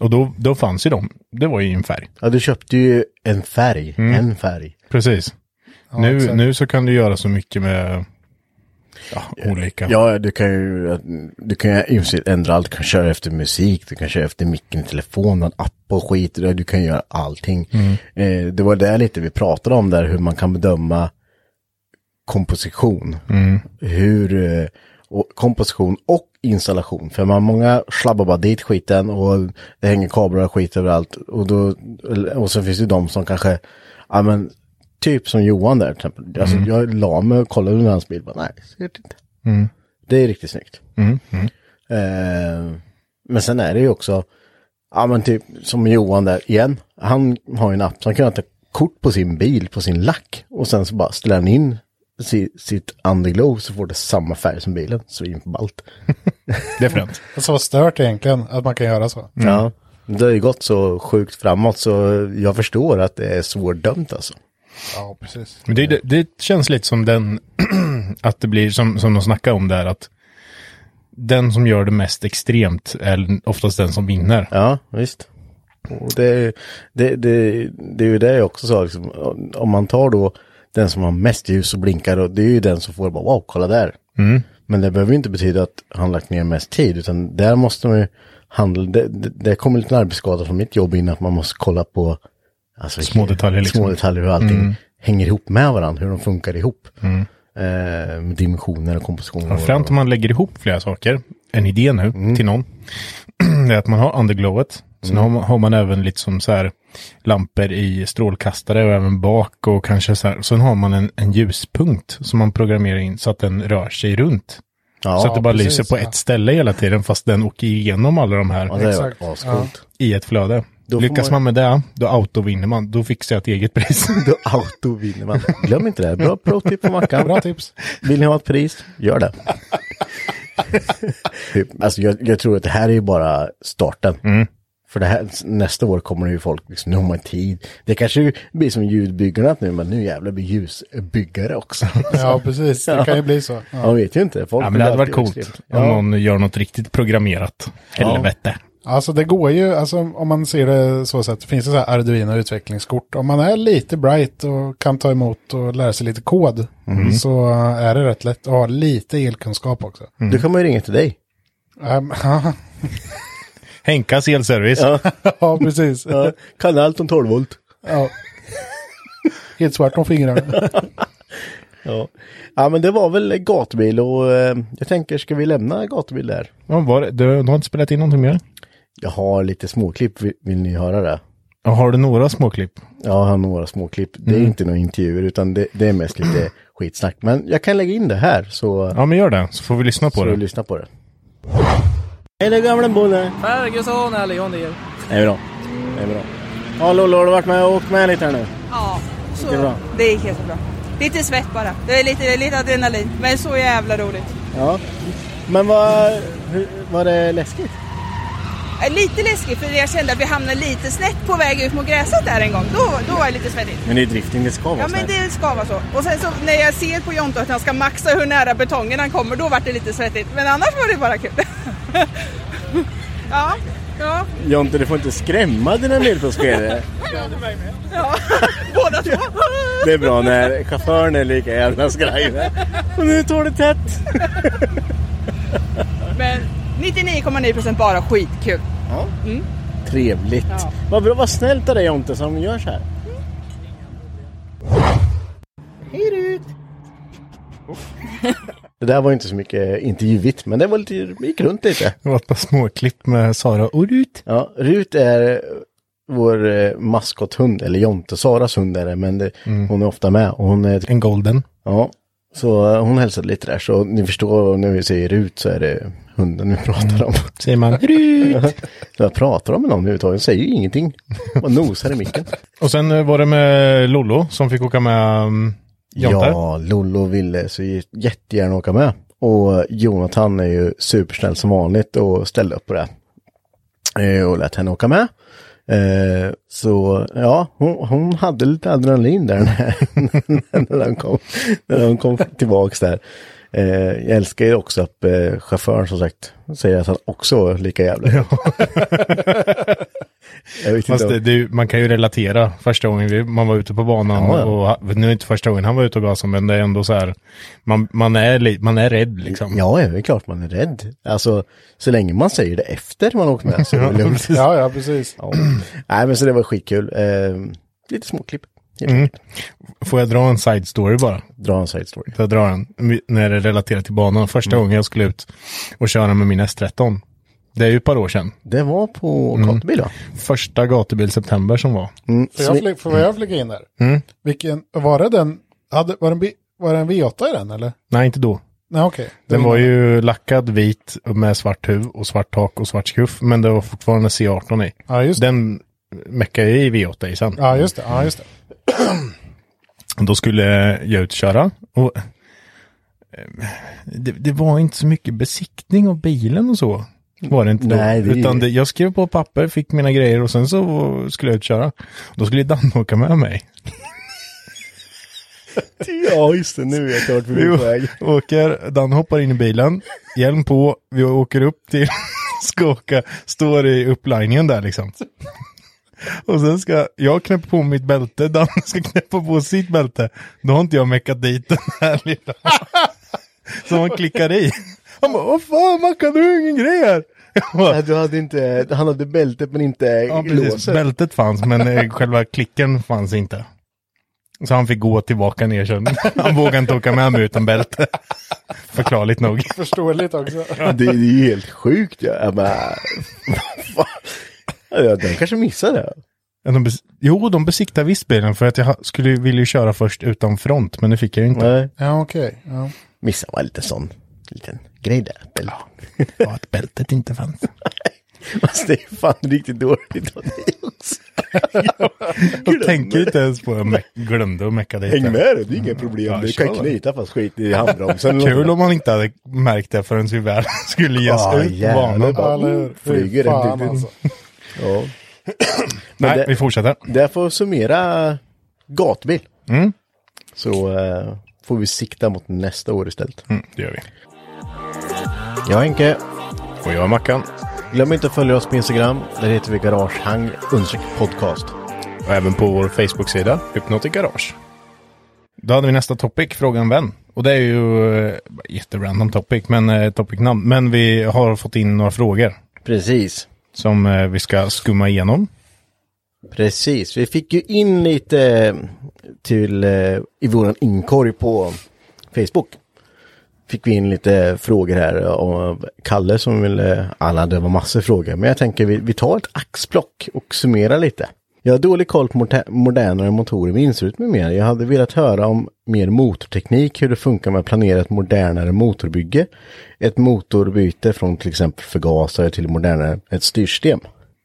Och då, då fanns ju de. Det var ju en färg.
Ja, du köpte ju en färg, en färg.
Precis. nu, nu så kan du göra så mycket med ja, olika.
Ja, du kan ju, du kan ju i och för sig ändra allt. Du kan köra efter musik, du kan köra efter micken i telefonen, app och skit. Du kan göra allting. Eh, det var det lite vi pratade om där, hur man kan bedöma komposition. Hur, eh, och komposition och installation. För man många slabbar bara dit skiten och det hänger kablar och skit överallt. Och, då, och så finns det de som kanske, ja men, typ som Johan där till exempel. Alltså, Jag la mig och kollade under hans bil, bara, nej, ser det inte. Det är riktigt snyggt. Eh, men sen är det ju också, ja men typ som Johan där igen, han har ju en app, så han kan ta kort på sin bil, på sin lack och sen så bara ställer han in si, sitt underglow så får det samma färg som bilen, svinballt.
Det är fränt.
Alltså vad stört egentligen att man kan göra så.
Ja, det har ju gått så sjukt framåt så jag förstår att det är svårdömt alltså.
Ja, precis.
Men det, det, det känns lite som den, att det blir som, som de snackar om där, att den som gör det mest extremt är oftast den som vinner.
Ja, visst. Och det, det, det, det är ju det jag också sa, liksom, om man tar då den som har mest ljus och blinkar, och det är ju den som får bara wow, kolla där.
Mm.
Men det behöver ju inte betyda att han lagt ner mest tid, utan där måste man ju handla, det, det, det kommer lite arbetsskada från mitt jobb in att man måste kolla på alltså,
Små detaljer liksom.
små detaljer hur allting hänger ihop med varandra, hur de funkar ihop. Eh, med dimensioner och Mm. kompositioner.
Mm. Ja, Främst om man lägger ihop flera saker, en idé nu till någon, det är att man har underglowet. Sen
Mm.
har, man, har man även lite som så här lampor i strålkastare och även bak och kanske så här. Sen har man en, en ljuspunkt som man programmerar in så att den rör sig runt.
ja,
så att det bara
precis,
lyser på
ja.
ett ställe hela tiden fast den åker igenom alla de här
ja, det är
Exakt,
ascoolt.
i ett flöde.
Då får
Lyckas
man-
man med det, då autovinner man. Då fixar jag ett eget pris.
Då auto vinner man. Glöm inte det. Bra pro-tip på Mackan.
Bra tips.
Vill ni ha ett pris? Gör det. Typ, alltså jag, jag tror att det här är ju bara starten.
Mm.
För det här, nästa år kommer det ju folk, liksom, nu har man tid. Det kanske blir som ljudbyggarna att nu, men nu jävlar blir ljusbyggare också.
Ja, precis. Det kan ju bli så. Ja.
Man vet ju inte. Folk
ja, men
vill
det hade varit
alltid
coolt
extremt.
om
Ja.
någon gör något riktigt programmerat. Helvete.
Alltså det går ju, alltså om man ser det så sätt, finns det så här Arduino utvecklingskort. Om man är lite bright och kan ta emot och lära sig lite kod så är det rätt lätt att ha lite elkunskap också.
Mm.
Då kan man ju ringa till dig.
Ehm,
Henkas elservice.
ja, precis.
Ja, kan allt om 12 volt.
Ja. Helt svart om fingrarna.
Ja. ja, men det var väl gatubil och eh, jag tänker, ska vi lämna gatubil där?
Ja, var, det- du, du har inte spelat in någonting mer?
Jag har lite småklipp, vill, vill ni höra det?
Ja, har du några småklipp?
Ja, han har några småklipp. Det är inte några intervjuer utan det, det är mest lite skitsnack. Men jag kan lägga in det här så,
Ja, men gör det. Så får vi lyssna på
så
det.
lyssna på det. Hej då gamla bonde!
Ferguson eller John Deere?
Det är bra. Det är bra. Ja Lollo, har du varit med och åkt med lite här nu?
Ja, så
Det är bra.
det gick helt bra. Lite svett bara. Det är lite, lite adrenalin, men så jävla roligt.
Ja. Men vad, hur, var det läskigt?
Eh, Lite läskigt för jag kände att vi hamnade lite snett på väg ut mot gräset där en gång. Då, då var det lite svettigt.
Men det är drifting, det ska vara
Ja men det ska vara så. Och sen så när jag ser på Jonte att han ska maxa hur nära betongen han kommer, då vart det lite svettigt. Men annars var det bara kul. ja, ja,
Jonte, du får inte skrämma dina medpassagerare.
ja. Båda två.
Det är bra när chauffören är lika jävla skraj. Och nu tar det tätt.
Men 99,9% bara skitkul.
Ja.
Mm.
Trevligt.
Ja.
Vad bra, vad snällt av dig Jonte som gör så här. Hej Rut!
Det där var inte så mycket intervjuigt, men det var lite, det gick runt lite.
Det var ett par småklipp med Sara och Rut.
Ja, Rut är vår eh, maskothund, eller Jonte, Saras hund är det, men det,
Mm.
hon är ofta med. Och hon är,
En golden.
ja, så eh, hon hälsade lite där, så ni förstår när vi säger Rut så är det hunden vi pratar om.
Mm.
Säger man Rut.
Jag pratar om med någon överhuvudtaget, hon säger ju ingenting. Bara nosar i micken.
Och sen eh, var det med Lollo som fick åka med um, Jonte.
Ja, Lollo ville så jättegärna åka med. Och Jonathan är ju supersnäll som vanligt och ställde upp på det. Eh, Och lät henne åka med. Eh, Så ja, hon, hon hade lite adrenalin där när, när, hon, kom, när hon kom tillbaks där. Eh, Jag älskar ju också att eh, chauffören som sagt säger att han också är lika jävla ja. Jag vet inte
Fast
om-
det, det, är ju- man kan ju relatera första gången vi, man var ute på banan.
Ja, ja.
Och, ha- nu är det inte första gången han var ute och gasade, men det är ändå så här. Man, man, är, li, man är rädd liksom.
Ja, ja, det är klart man är rädd. Alltså, så länge man säger det efter man har åkt med så är det lugnt.
Ja, ja, precis.
Ja. Nej, men så det var skitkul. Eh, lite småklipp. helt
Mm.
enkelt.
Får jag dra en side story bara?
Dra en side story.
Jag drar den. My- När det relaterar till banan. Första
Mm.
gången jag skulle ut och köra med min S13. Det är ju ett par år sedan.
Det var på Karleby då.
Första gatubil september som var.
Mm.
Får
så
jag,
ni-
fly- får jag flika in där?
Mm.
Vilken, var det den, hade, var, det en, B- var det en V8 i den eller?
Nej, inte då.
Nej, okej.
Den var ju lackad vit med svart huv och svart tak och svart skuff. Men det var fortfarande C18 i.
Ja, just det.
Den meckade ju i V8 i sen.
Ja, just det. Ja, just det.
Då skulle jag utköra. Och eh, det, det var inte så mycket besiktning av bilen och så. Var det inte då.
Nej, det är-
Utan det, jag skrev på papper, fick mina grejer och sen så skulle jag utköra. Då skulle Dan åka med mig.
Ja, just det. Nu vet jag vart vi
Vi
är på väg.
å- åker, Dan hoppar in i bilen, hjälm på, vi åker upp till, ska åka, står i upplinjen där liksom. Och sen ska jag knäppa på mitt bälte, Dan ska knäppa på sitt bälte. Då har inte jag meckat dit den här lilla. Som han klickar i. Han bara, vad fan Mackan, du har ju ingen grej här. Jag bara,
Nej, Du hade inte, han hade bältet men inte
ja, precis,
låset.
bältet fanns men eh, själva klicken fanns inte. Så han fick gå tillbaka ner sen. Han vågade inte åka med mig utan bälte. Förklarligt nog.
Förståeligt också.
Det, det är ju helt sjukt. Ja. Jag bara, fan. Ja, den kanske missade.
Ja, De bes- jo, de besiktade visst bilen för att jag ha- skulle, ju- ville ju köra först utan front, men det fick jag ju inte.
Nej.
Ja, okej. Ja.
Missade var lite sån liten grej där. Ja.
Ja, att bältet inte fanns.
Fast det är fan riktigt dåligt av dig också.
Jag tänker inte ens på att jag me- glömde att mecka dit.
Häng
den.
med det, det är inga problem.
Ja,
du kan
kör.
knyta fast skit i handbromsen. eller något.
Kul om man inte hade märkt det förrän vi väl skulle ge
Ah,
oss ut på
jävlar.
banan.
Ja, eller hur? Fy
Flyger den
fan,
till-
alltså.
Ja.
Nej,
det-
vi fortsätter.
Där får jag summera gatbil.
Mm.
Så eh, får vi sikta mot nästa år istället.
Mm, det gör vi.
Jag är Henke.
Och jag är Mackan.
Glöm inte att följa oss på Instagram. Där heter vi Garagehang understreck podcast.
Och även på vår Facebook-sida, Hypnotic Garage. Då hade vi nästa topic, Fråga en vän. Och det är ju eh, jätterandom topic, men eh, topicnamn. Men vi har fått in några frågor
Precis.
som eh, vi ska skumma igenom.
Precis. Vi fick ju in lite eh, till eh, i våran inkorg på Facebook. Fick vi in lite frågor här av Kalle som ville, han hade var massor frågor, men jag tänker vi, vi tar ett axplock och summerar lite. Jag har dålig koll på morta- modernare motorer med insrut med mer. Jag hade velat höra om mer motorteknik, hur det funkar med att planera ett modernare motorbygge. Ett motorbyte från till exempel förgasare till modernare, ett styrsystem.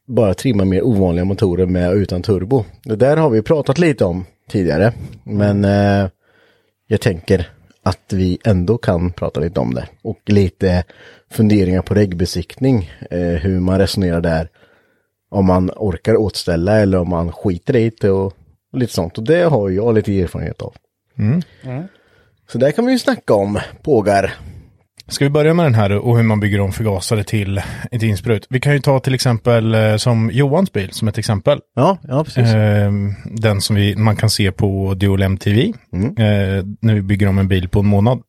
Bara trimma mer ovanliga motorer med och utan turbo. Det där har vi pratat lite om tidigare, men eh, jag tänker att vi ändå kan prata lite om det. Och lite funderingar på regbesiktning, eh, hur man resonerar där. Om man orkar återställa eller om man skiter i det och lite sånt. Och det har jag Mm. lite erfarenhet av. Så där kan vi ju snacka om, pågar.
Ska vi börja med den här och hur man bygger om förgasare till ett insprut? Vi kan ju ta till exempel eh, som Johans bil som ett exempel.
Ja, ja precis.
Ehm, den som vi, man kan se på Dual MTV eh, när vi bygger om en bil på en månad.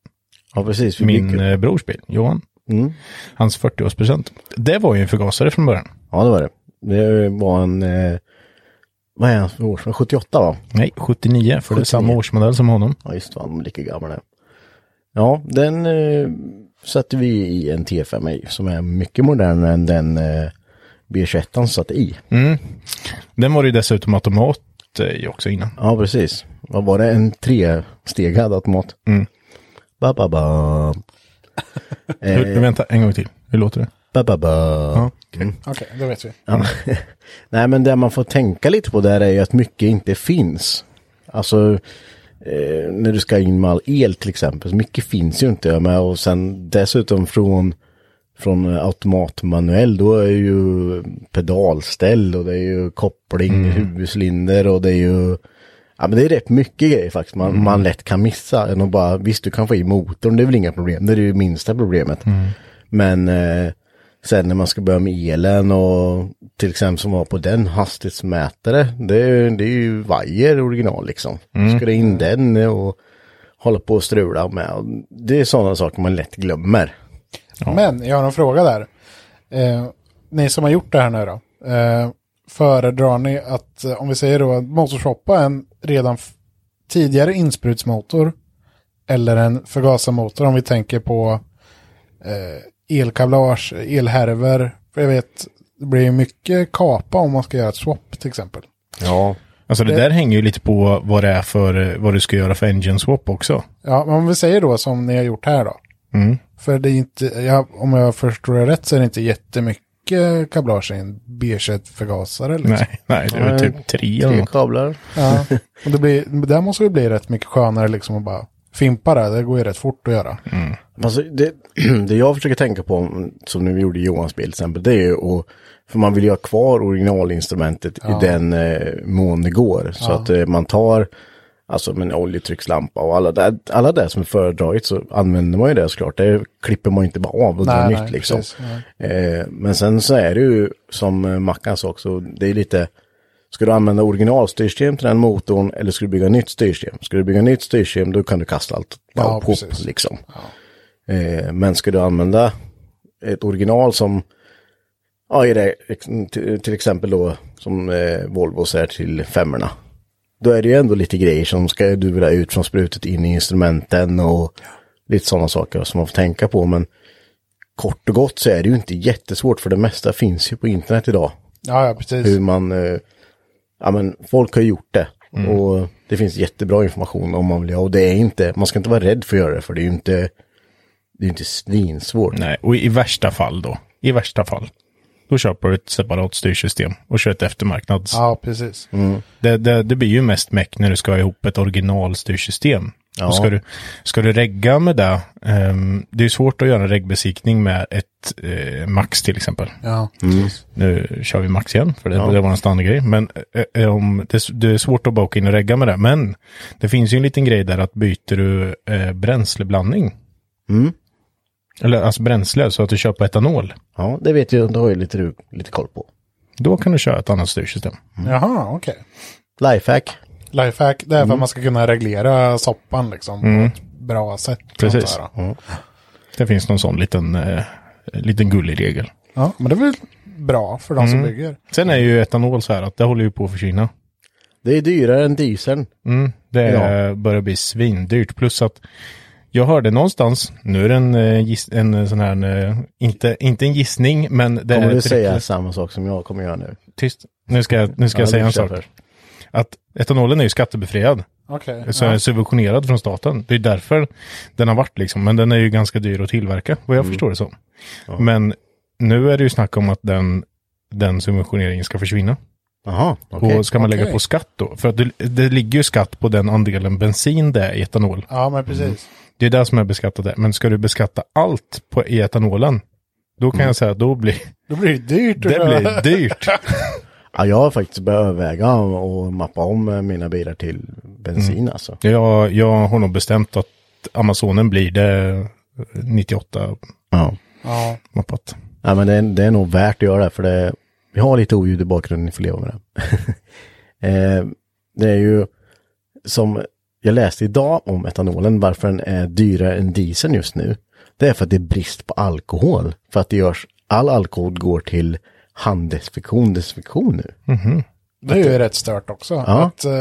Ja, precis.
Min eh, brors bil, Johan.
Mm.
Hans 40-årspresent. Det var ju en förgasare från början.
Ja, det var det. Det var en... Eh, vad är han för årsmodell? 78 va?
Nej, 79, för det är samma
79.
årsmodell som honom.
Ja, just det. Han är lika gammal där. Ja, den eh, satte vi i en T5i som är mycket modernare än den eh, B21 satte i.
Mm. Den var det ju dessutom automat eh, också innan.
Ja, precis. Vad var det? En trestegad automat?
Mm.
Ba, ba, ba.
Hur,
eh,
vänta, en gång till. Hur låter det?
ba, ba, ba.
Ja.
Mm.
Okej, då vet vi.
Ja. Nej, men det man får tänka lite på där är ju att mycket inte finns. Alltså, eh, när du ska in med all el till exempel, så mycket finns ju inte. Men, och sen dessutom från, från automatmanuell, då är ju pedalställ och det är ju koppling, huvudcylinder och det är ju... Ja, men det är rätt mycket grejer faktiskt man, man lätt kan missa. Än att bara, visst, du kan få i motorn, det är väl inga problem. Det är det minsta problemet. Men eh, sen när man ska börja med elen och till exempel som var på den hastighetsmätare. Det, är ju- det är ju vajer original liksom. Ska det in den och hålla på och strula med. Det är sådana saker man lätt glömmer.
Men jag har en fråga där. Eh, ni som har gjort det här nu då. Eh, föredrar ni att, eh, om vi säger då, att motorshoppa en redan f- tidigare insprutsmotor eller en förgasarmotor om vi tänker på eh, elkablage, elhärvor. För jag vet, det blir ju mycket kapa om man ska göra ett swap till exempel.
Ja.
Alltså
Eh.
det, där hänger ju lite på vad det är för, eh, vad du ska göra för engine swap också.
Ja, men om vi säger då som ni har gjort här då.
Mm.
För det är inte, ja, om jag förstår det rätt så är det inte jättemycket kablage i en B21-förgasare. Liksom.
Nej, nej, det var
Nej.
typ tre eller
Tre
något.
kablar.
Ja. Och det blir, där måste det bli rätt mycket skönare liksom att bara fimpa det. Det går ju rätt fort att göra.
Mm.
Alltså det, det jag försöker tänka på, mm, som nu vi gjorde i Johans bil till exempel, det är ju att, för man vill ju ha kvar originalinstrumentet i den eh, mån det går. Så att eh, man tar, alltså med en oljetryckslampa och alla det, alla det som är föredraget så använder man ju det såklart. Det klipper man ju inte bara av och drar
Nej,
nytt
nej,
liksom.
precis.
Eh, men sen så är det ju, som eh, Mackan sa också, det är lite, Ska du använda originalstyrsystem till den motorn eller ska du bygga nytt styrsystem? Ska du bygga nytt styrsystem då kan du kasta allt
Ja,
ja,
precis.
liksom. Eh, men ska du använda ett original som, ja, i det, till- till exempel då som eh, Volvos är till femmorna. Då är det ju ändå lite grejer som ska du vilja ut från sprutet in i instrumenten och lite sådana saker som man får tänka på. Men kort och gott så är det ju inte jättesvårt för det mesta finns ju på internet idag
Ja, ja precis.
hur man... eh, Ja, men folk har gjort det.
Mm.
Och det finns jättebra information om man vill ha. Och det är inte... Man ska inte vara rädd för att göra det, för det är ju inte... Det är ju inte svinsvårt.
Nej, och i värsta fall då, i värsta fall, då köper du ett separat styrsystem och kör ett eftermarknads.
Ja, precis.
Mm. Det, det, det blir ju mest meck när du ska ha ihop ett originalstyrsystem. Och Ska, du, ska du regga med det, ehm, det är ju svårt att göra en regbesiktning med ett eh, Max till exempel.
Ja.
Mm. Nu kör vi Max igen, för det, det var en standardgrej. Men eh, eh, om, det, s- det är svårt att baka in och regga med det. Men det finns ju en liten grej där att byter du eh, bränsleblandning.
Mm.
Eller alltså bränsle, så att du kör på etanol.
Ja, det vet jag. Det har jag lite, du- lite koll på.
Då kan du köra ett annat styrsystem.
Jaha, okej.
Lifehack.
Lifehack, det är för
Mm.
att man ska kunna reglera soppan liksom. På ett bra sätt.
Precis.
antar jag.
Det finns någon sån liten, eh, liten gullig regel.
Ja, men det är väl bra för de som
Mm.
bygger.
Sen är ju etanol så här att det håller ju på att försvinna.
Det är dyrare än dieseln.
Mm, det är, börjar bli svindyrt. Plus att jag hörde någonstans, nu är det en, eh, giss, en eh, sån här, en, eh, inte, inte en gissning, men det
Kommer
är
du
ett
säga
rykte-
samma sak som jag kommer göra nu?
Tyst, nu ska jag, nu ska jag
Ja,
säga
du
en
kör
sak.
först.
Att etanolen är ju skattebefriad,
Okej.
så är subventionerad från staten. Det är därför den har varit liksom, men den är ju ganska dyr att tillverka, vad jag
Mm.
förstår det som. Men nu är det ju snack om att den, den subventioneringen ska försvinna.
Jaha, okej.
Och ska man lägga
okej.
på skatt då? För att det, det ligger ju skatt på den andelen bensin det är i etanol.
Ja, men precis.
Det är det som är beskattat där. Men ska du beskatta allt på, i etanolen, då kan jag säga att då blir
Då blir det dyrt.
det blir dyrt.
Ja, jag har faktiskt börjat överväga och mappa om eh, mina bilar
Mm.
till bensin alltså.
Jag, jag har nog bestämt att Amazonen blir det 98
Ja.
Ja.
mappat.
Ja, men det är, det är nog värt att göra för det, vi har lite oljud i bakgrunden, ni får leva med det. eh, det är ju som jag läste idag om etanolen, varför den är dyrare än dieseln just nu. Det är för att det är brist på alkohol. För att det görs, all alkohol går till handdesinfektion, desinfektion nu.
Det är ju rätt stört också. Att, eh,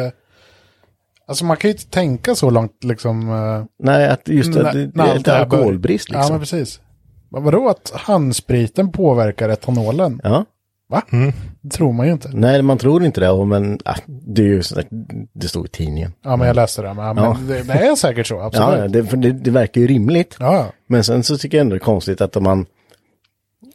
alltså man kan ju inte tänka så långt liksom. Eh,
Nej, att just det,
när-
det,
när
det är
Mm, allt
lite
här bör-
alkoholbrist
Ja, men
liksom.
precis. Men Vadå att handspriten påverkar etanolen?
Ja.
Va?
Mm.
Det tror man ju inte.
Nej, man tror inte det, och men ah, det är ju sådär, det stod i tidningen.
Ja, men jag läste det. Men, ja.
Ja.
men det, det är säkert så, absolut.
Ja, det, för det, det verkar ju rimligt.
Ja, ja.
Men sen så tycker jag ändå det är konstigt att om man,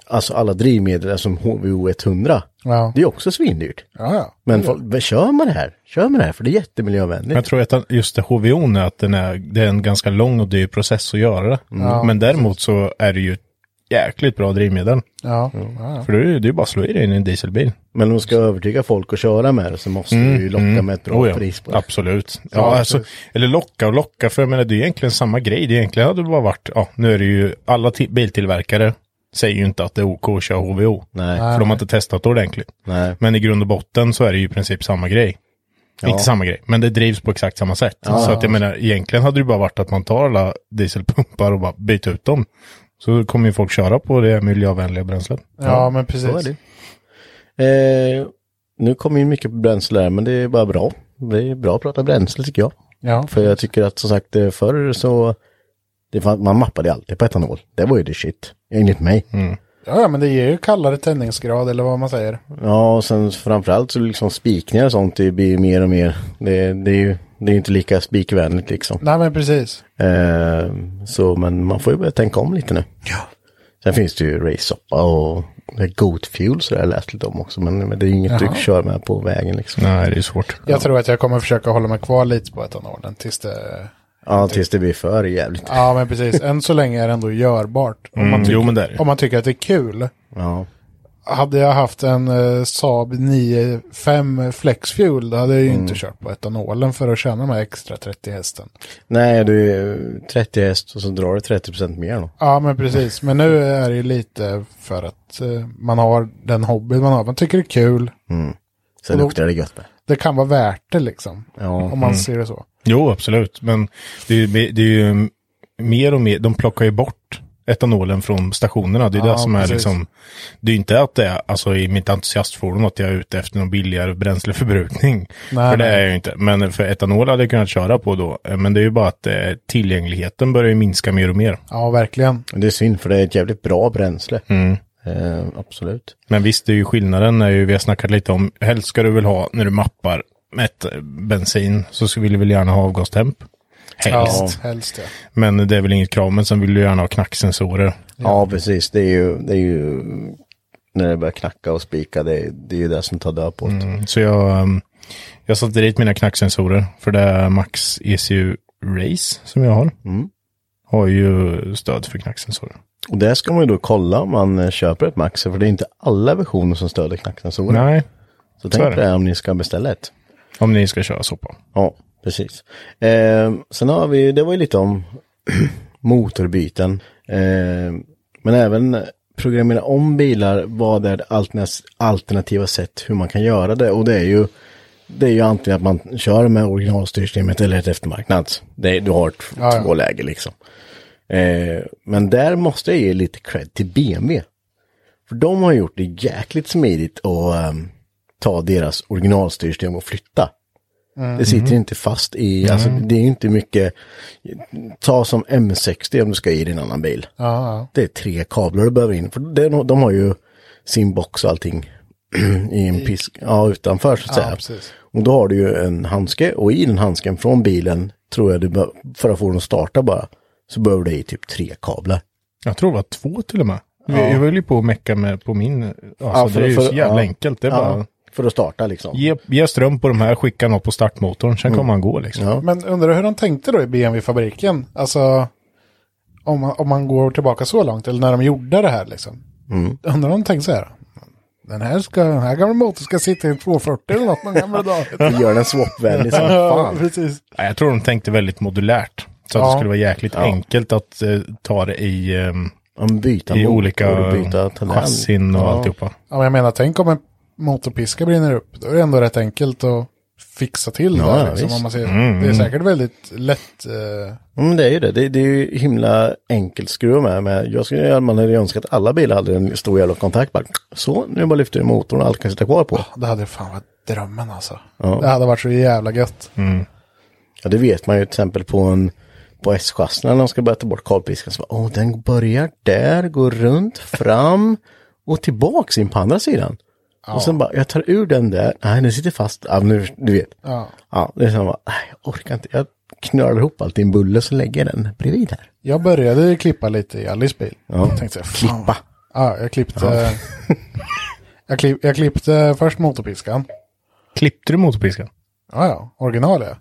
alltså alla drivmedel är som HVO 100,
Ja,
det är också svindyrt.
ja. ja.
Men folk, vad kör man det här? Kör man det här? För det är jättemiljövänligt.
Jag tror att just det HVO är att den är, det är en ganska lång och dyr process att göra det. Men däremot så är det ju ett jäkligt bra drivmedel.
ja. ja, ja.
För det är ju det är ju bara att slå i dig in i en dieselbil.
Men om man ska övertyga folk att köra med det så måste du ju locka med ett bra
Oh ja,
pris på det.
Absolut. Ja,
Ja,
alltså,
precis.
eller locka och locka, för jag menar det är egentligen samma grej. Det egentligen hade bara varit, ja, nu är det ju, alla ti- biltillverkare säger ju inte att det är OK att köra HVO.
Nej,
För de har inte testat det ordentligt.
nej.
Men i grund och botten så är det ju i princip samma grej. Inte samma grej, men det drivs på exakt samma sätt. så att jag menar, egentligen hade det ju bara varit att man tar alla dieselpumpar och bara byter ut dem. Så kommer ju folk köra på det miljövänliga bränslet.
ja men
Så är
precis.
det. Eh, nu kommer ju mycket bränsle där, men det är bara bra. Det är bra att prata bränsle tycker jag.
Ja.
För jag tycker att som sagt eh, förr så, det fann, man mappade alltid på etanol. Det var ju det shit, enligt mig.
ja, ja, men det ger ju kallare tändningsgrad eller vad man säger.
Ja, och sen framförallt så liksom spikningar och sånt det blir ju mer och mer. Det, det är ju det är inte lika spikvänligt liksom.
Nej, men precis.
Eh, så men man får ju börja tänka om lite nu. Ja. Sen finns det ju race-soppa och det är goat fuel så det har jag läst lite om också. Men, men det är ju inget du kör med på vägen liksom.
Nej, det är svårt.
Jag tror att jag kommer försöka hålla mig kvar lite på etanolen tills det...
Ja, tills det blir för jävligt.
Ja, men precis. Än så länge är det ändå görbart. Om man,
Mm,
tycker,
jo, men det är det.
om man tycker att det är kul.
Ja.
Hade jag haft en eh, Saab 9-5 Flexfuel, då hade jag ju
Mm.
inte kört på etanolen för att tjäna de här extra 30 hästen.
Nej, du är 30 häst och så drar du 30 mer då.
Ja, men precis. Men nu är det ju lite för att eh, man har den hobby man har. Man tycker det är kul.
Sen
Och då-
luktar det gött med.
Det kan vara värt det liksom.
Ja.
Om
Mm.
man ser det så.
Jo, absolut. Men det är, ju- det är ju mer och mer, de plockar ju bort etanolen från stationerna. Det är
Ja,
det som
precis.
är liksom, det är ju inte att det är, alltså i mitt entusiastfordon att jag är ute efter någon billigare bränsleförbrukning.
Nej,
för det
nej.
är jag ju inte. Men för etanol hade jag kunnat köra på då. Men det är ju bara att eh, tillgängligheten börjar ju minska mer och mer.
Ja, verkligen.
Det är synd för det är ett jävligt bra bränsle. Eh, absolut.
Men visst, det är ju skillnaden är ju, vi har snackat lite om, helst ska du väl ha när du mappar ett eh, bensin så ska- vill du väl gärna ha avgastemp. Helst.
Ja, helst ja.
Men det är väl inget krav, men sen vill du gärna ha knacksensorer.
Ja, precis. Det är, ju, det är ju när det börjar knacka och spika, det, är- det är ju det som tar död på det.
Så jag, ehm, jag satte dit mina knacksensorer, för det är Max ECU Race som jag har.
Mm.
Har ju stöd för knacksensorer.
Och där ska man ju då kolla om man eh, köper ett Max, för det är inte alla versioner som stöder knacksensorer.
Nej,
så
så är
tänk
det.
på det här om ni ska beställa ett.
om ni ska köra sopa.
Ja, precis. Eh, sen har vi, det var ju lite om motorbyten. Eh, men även programmera om bilar, vad är det alternas- alternativa sätt hur man kan göra det? Och det är ju, det är ju antingen att man kör med originalstyrsystemet eller ett eftermarknads. Det är, du har t-
Ja, ja.
två läger liksom. Eh, men där måste jag ge lite cred till BMW. För de har gjort det jäkligt smidigt att ehm, ta deras originalstyrsystem och flytta.
Mm.
Det sitter inte fast i, alltså det är inte mycket, ta som M60 om du ska i din annan bil.
Ja, ja.
Det är tre kablar du behöver in, för det, är nog- de har ju sin box och allting i en pisk, ja utanför så att
Ja,
säga.
precis.
Och då har du ju en handske och i den handsken från bilen tror jag du bör, för att få den att starta bara, så behöver du i typ tre kablar.
Jag tror det var två till och med. Jag höll ju på att mecka med på min. Alltså,
för-
det är ju
för-
så jävla
ja.
enkelt. Det är bara
Ja, för att starta liksom.
ge, ge ström på de här, skicka något på startmotorn, sen kommer han gå liksom.
Mm. Ja.
Men undrar hur de tänkte då i BMW-fabriken? Alltså, om man, om man går tillbaka så långt, eller när de gjorde det här liksom.
Mm.
Undrar om de tänkte så här. Den här, ska, den här gamla motorn ska sitta i en 240 eller något någon gamla dag.
Gör den swapvänlig som
Ja,
fan.
precis.
Ja, Jag tror de tänkte väldigt modulärt. Så att det skulle vara jäkligt enkelt att eh, ta det i, ehm, i olika chassin och alltihopa.
Ja, men jag menar, tänk om en motorpiska brinner upp. Då är det ändå rätt enkelt att fixa till
Ja,
det.
ja,
Liksom,
visst.
om man ser.
Mm.
Det är säkert väldigt lätt. Eh,
Ja, Men det är ju det. Det, det är ju himla enkelt skruva med. Men jag skulle man hade ju önskat att alla bilar hade en stor jävla kontakt. Bara, så, nu bara lyfter vi motorn och allt kan sitta kvar på.
det hade fan varit drömmen alltså.
Ja.
Det hade varit så jävla gött.
Ja, det vet man ju till exempel på en på S-chassin när de ska börja ta bort kalpiskan. Så bara, åh, den börjar där, går runt, fram och tillbaks in på andra sidan. Och sen bara, jag tar ur den där, nej den sitter fast, ja, men nu, du vet.
Ja.
Ja, det är så man bara, nej jag orkar inte, jag knölar ihop allt i en bulle så lägger jag den bredvid här.
Jag började ju klippa lite i Alice bil.
Ja.
Jag tänkte, fan.
Klippa.
Ja, jag klippte.
Ja.
jag, klipp, jag klippte först motorpiskan.
Klippte du motorpiskan?
Ja, ja. Original ja.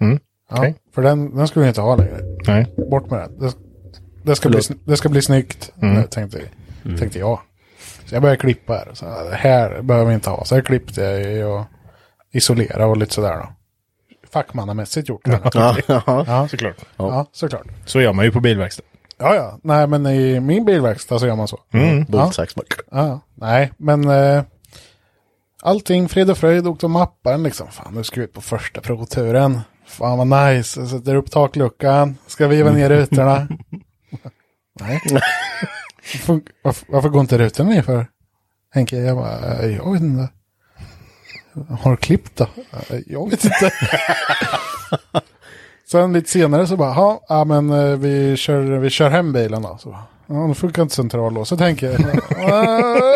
Mm.
ja
Okej.
För den, den skulle jag inte ha längre.
Nej.
Bort med den. Det, det, ska, bli,
Förlåt.
sn- det ska bli snyggt,
Mm.
tänkte, tänkte jag. Så jag började klippa här. Så här, det här behöver vi inte ha. Så här klippte jag ju och isolerade och lite sådär då. Fackmannamässigt gjort. det.
ja, såklart.
Ja, såklart.
Så gör man ju på bilverkstad.
Ja, ja. Nej, men i min bilverkstad så gör man så.
Mm.
Ja. Ja, nej, men eh, allting frid och fröjd åkte om mappen liksom. Fan, nu ska vi ut på första provturen. Fan vad nice. Jag sätter upp takluckan. Ska vi ner rutorna? nej. varför, varför, varför går inte rutorna ner för? Henke, jag bara, eh, jag vet inte. Har du klippt då? Eh, Jag vet inte. Sen lite senare så bara, "Ha, ja men eh, vi kör, vi kör hem bilen då. Så, bara, ja, då funkar inte centrallåset tänker jag.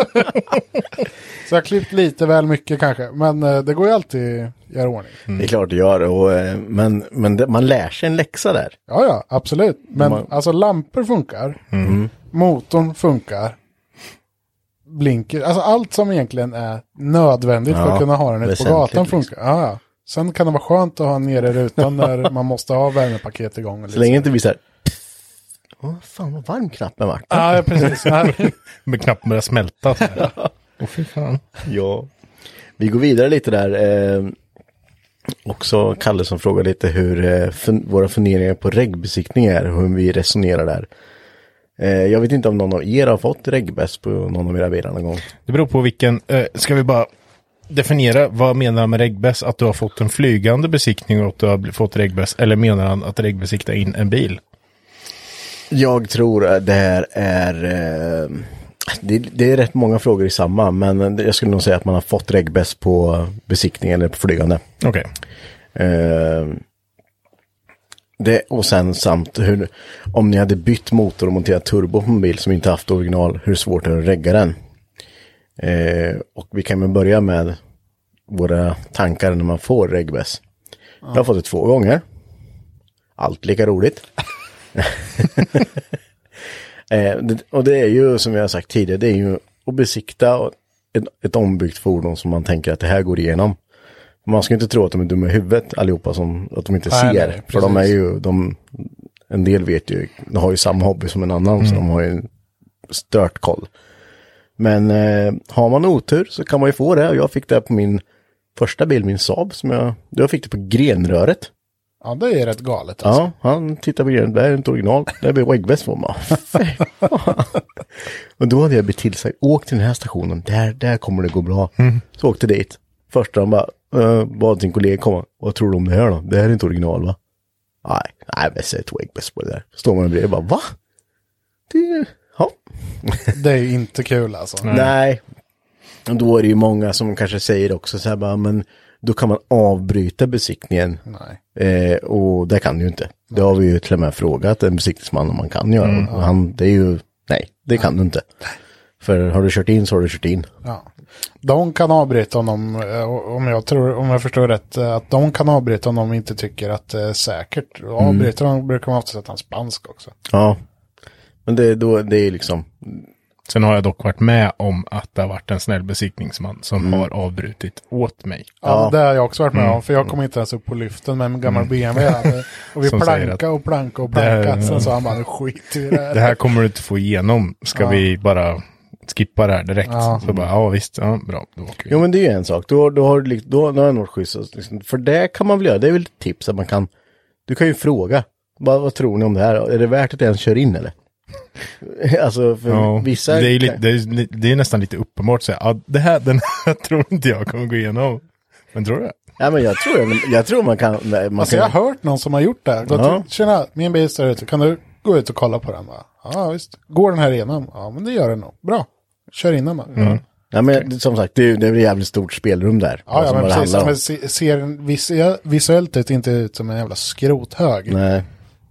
så jag har klippt lite väl mycket kanske, men eh, det går ju alltid att göra i ordning.
Det är klart det gör, och, eh, men, men det, man lär sig en läxa där.
Ja, ja, absolut. Men
Man-
alltså lampor funkar,
Mm.
motorn funkar, blinker, alltså allt som egentligen är nödvändigt för
Ja,
att kunna ha den ute på
väsentligt
gatan
liksom.
funkar. Ja, ja. Sen kan det vara skönt att ha nere i rutan när man måste ha värmepaket igång. liksom.
Så länge inte vi så här, åh fan vad varm knappen vart.
Ja, ja, precis. Ja.
Men knappt börjar smälta. så här. Åh fy fan.
Ja. Vi går vidare lite där. Eh, också Kalle som frågar lite hur eh, fun- våra funderingar på regbesiktning är, hur vi resonerar där. Eh, jag vet inte om någon av er har fått regbäst på någon av era bilar någon gång.
Det beror på vilken, eh, ska vi bara definiera vad menar han med regbäs? Att du har fått en flygande besiktning och att du har bl- fått regbäs? Eller menar han att regbesikta in en bil?
Jag tror att det här är... Eh, det, det är rätt många frågor i samma, men jag skulle nog säga att man har fått regbäst på besiktning eller på flygande.
Okej.
Eh, det, och sen samt hur, om ni hade bytt motor och monterat turbo på en bil som inte haft original, hur svårt är det att regga den? Eh, och vi kan väl börja med våra tankar när man får regbäs. Jag har fått det två gånger. Allt lika roligt. eh, det, och det är ju som jag har sagt tidigare, det är ju att besikta ett, ett ombyggt fordon som man tänker att det här går igenom. Man ska inte tro att de är dumma i huvudet allihopa, som, att de inte
Nej,
ser.
nej,
för de är
precis.
ju, de, en del vet ju, de har ju samma hobby som en annan,
Mm.
så de har ju stört koll. Men eh, har man otur så kan man ju få det. Och jag fick det på min första bil, min Saab, som jag, jag fick det på grenröret.
Ja, det är rätt galet. Alltså.
Ja, han tittar på grejen. Det här är inte original. Det här blir väggväst på mig. och då hade jag bett till sig. Åk till den här stationen. Där, där kommer det gå bra. Så åkte dit. Första han bara eh, bad sin kollega komma. Vad tror du om det här då? Det här är inte original va? Nej, nej men säg ett väggväst på det där. Står man bredvid och bara va? Det, ja.
Det är ju inte kul alltså.
Nej. Och Då är det ju många som kanske säger också så här bara, men då kan man avbryta besiktningen.
Nej.
Eh, och det kan du ju inte. Det har vi ju till och med frågat en besiktningsman om man kan göra. Och han, det är ju, nej, det kan du inte. För har du kört in så har du kört in.
Ja. De kan avbryta honom, eh, om jag, tror, om jag förstår rätt, eh, att de kan avbryta om de inte tycker att det är säkert. Och Avbryter de brukar man ofta sätta en spansk också.
Ja. Men det, då, det är ju liksom,
Sen har jag dock varit med om att det har varit en snäll besiktningsman som
Mm.
har avbrutit åt mig.
Ja, men Det har jag också varit med
Mm.
om, för jag kom inte ens upp på lyften med en gammal BMW. jag hade. Och vi
Som säger
plankade och plankade och
här-
plankade. Sen sa han bara, nu skiter vi i det här.
Det här kommer du inte få igenom. Ska
Ja.
vi bara skippa det här direkt?
Ja.
Så bara, ja visst, ja, bra, då åker vi.
Jo men det är liksom. ju en sak. Då, då har du likt- då, då har den varit schysst. Liksom, för det kan man väl göra. Det är väl ett tips att man kan Du kan ju fråga. Vad, vad tror ni om det här? Är det värt att jag ens kör in eller? alltså, för
Ja,
vissa...
det, är ju lite, det, är, li- det är nästan lite uppenbart att säga, ah, det här, den här tror inte jag kommer gå igenom. Men tror du det?
Ja, men jag tror, jag, vill- jag tror man kan... nej, Man
Alltså
kan...
jag har hört någon som har gjort det. här. Gått
Ja.
ut, Tjena, min bil står ute. Kan du gå ut och kolla på den? Bara, Ja, visst. Går den här igenom? Ja, men det gör den nog. Bra. Kör in den bara.
Mm.
Ja, men som sagt, det, är- det är ett jävligt stort spelrum där.
Ja, ja,
Alltså,
men
vad det
precis.
handlar om.
Men se- ser den vise- visuellt ut, inte ut som en jävla skrothög.
Nej.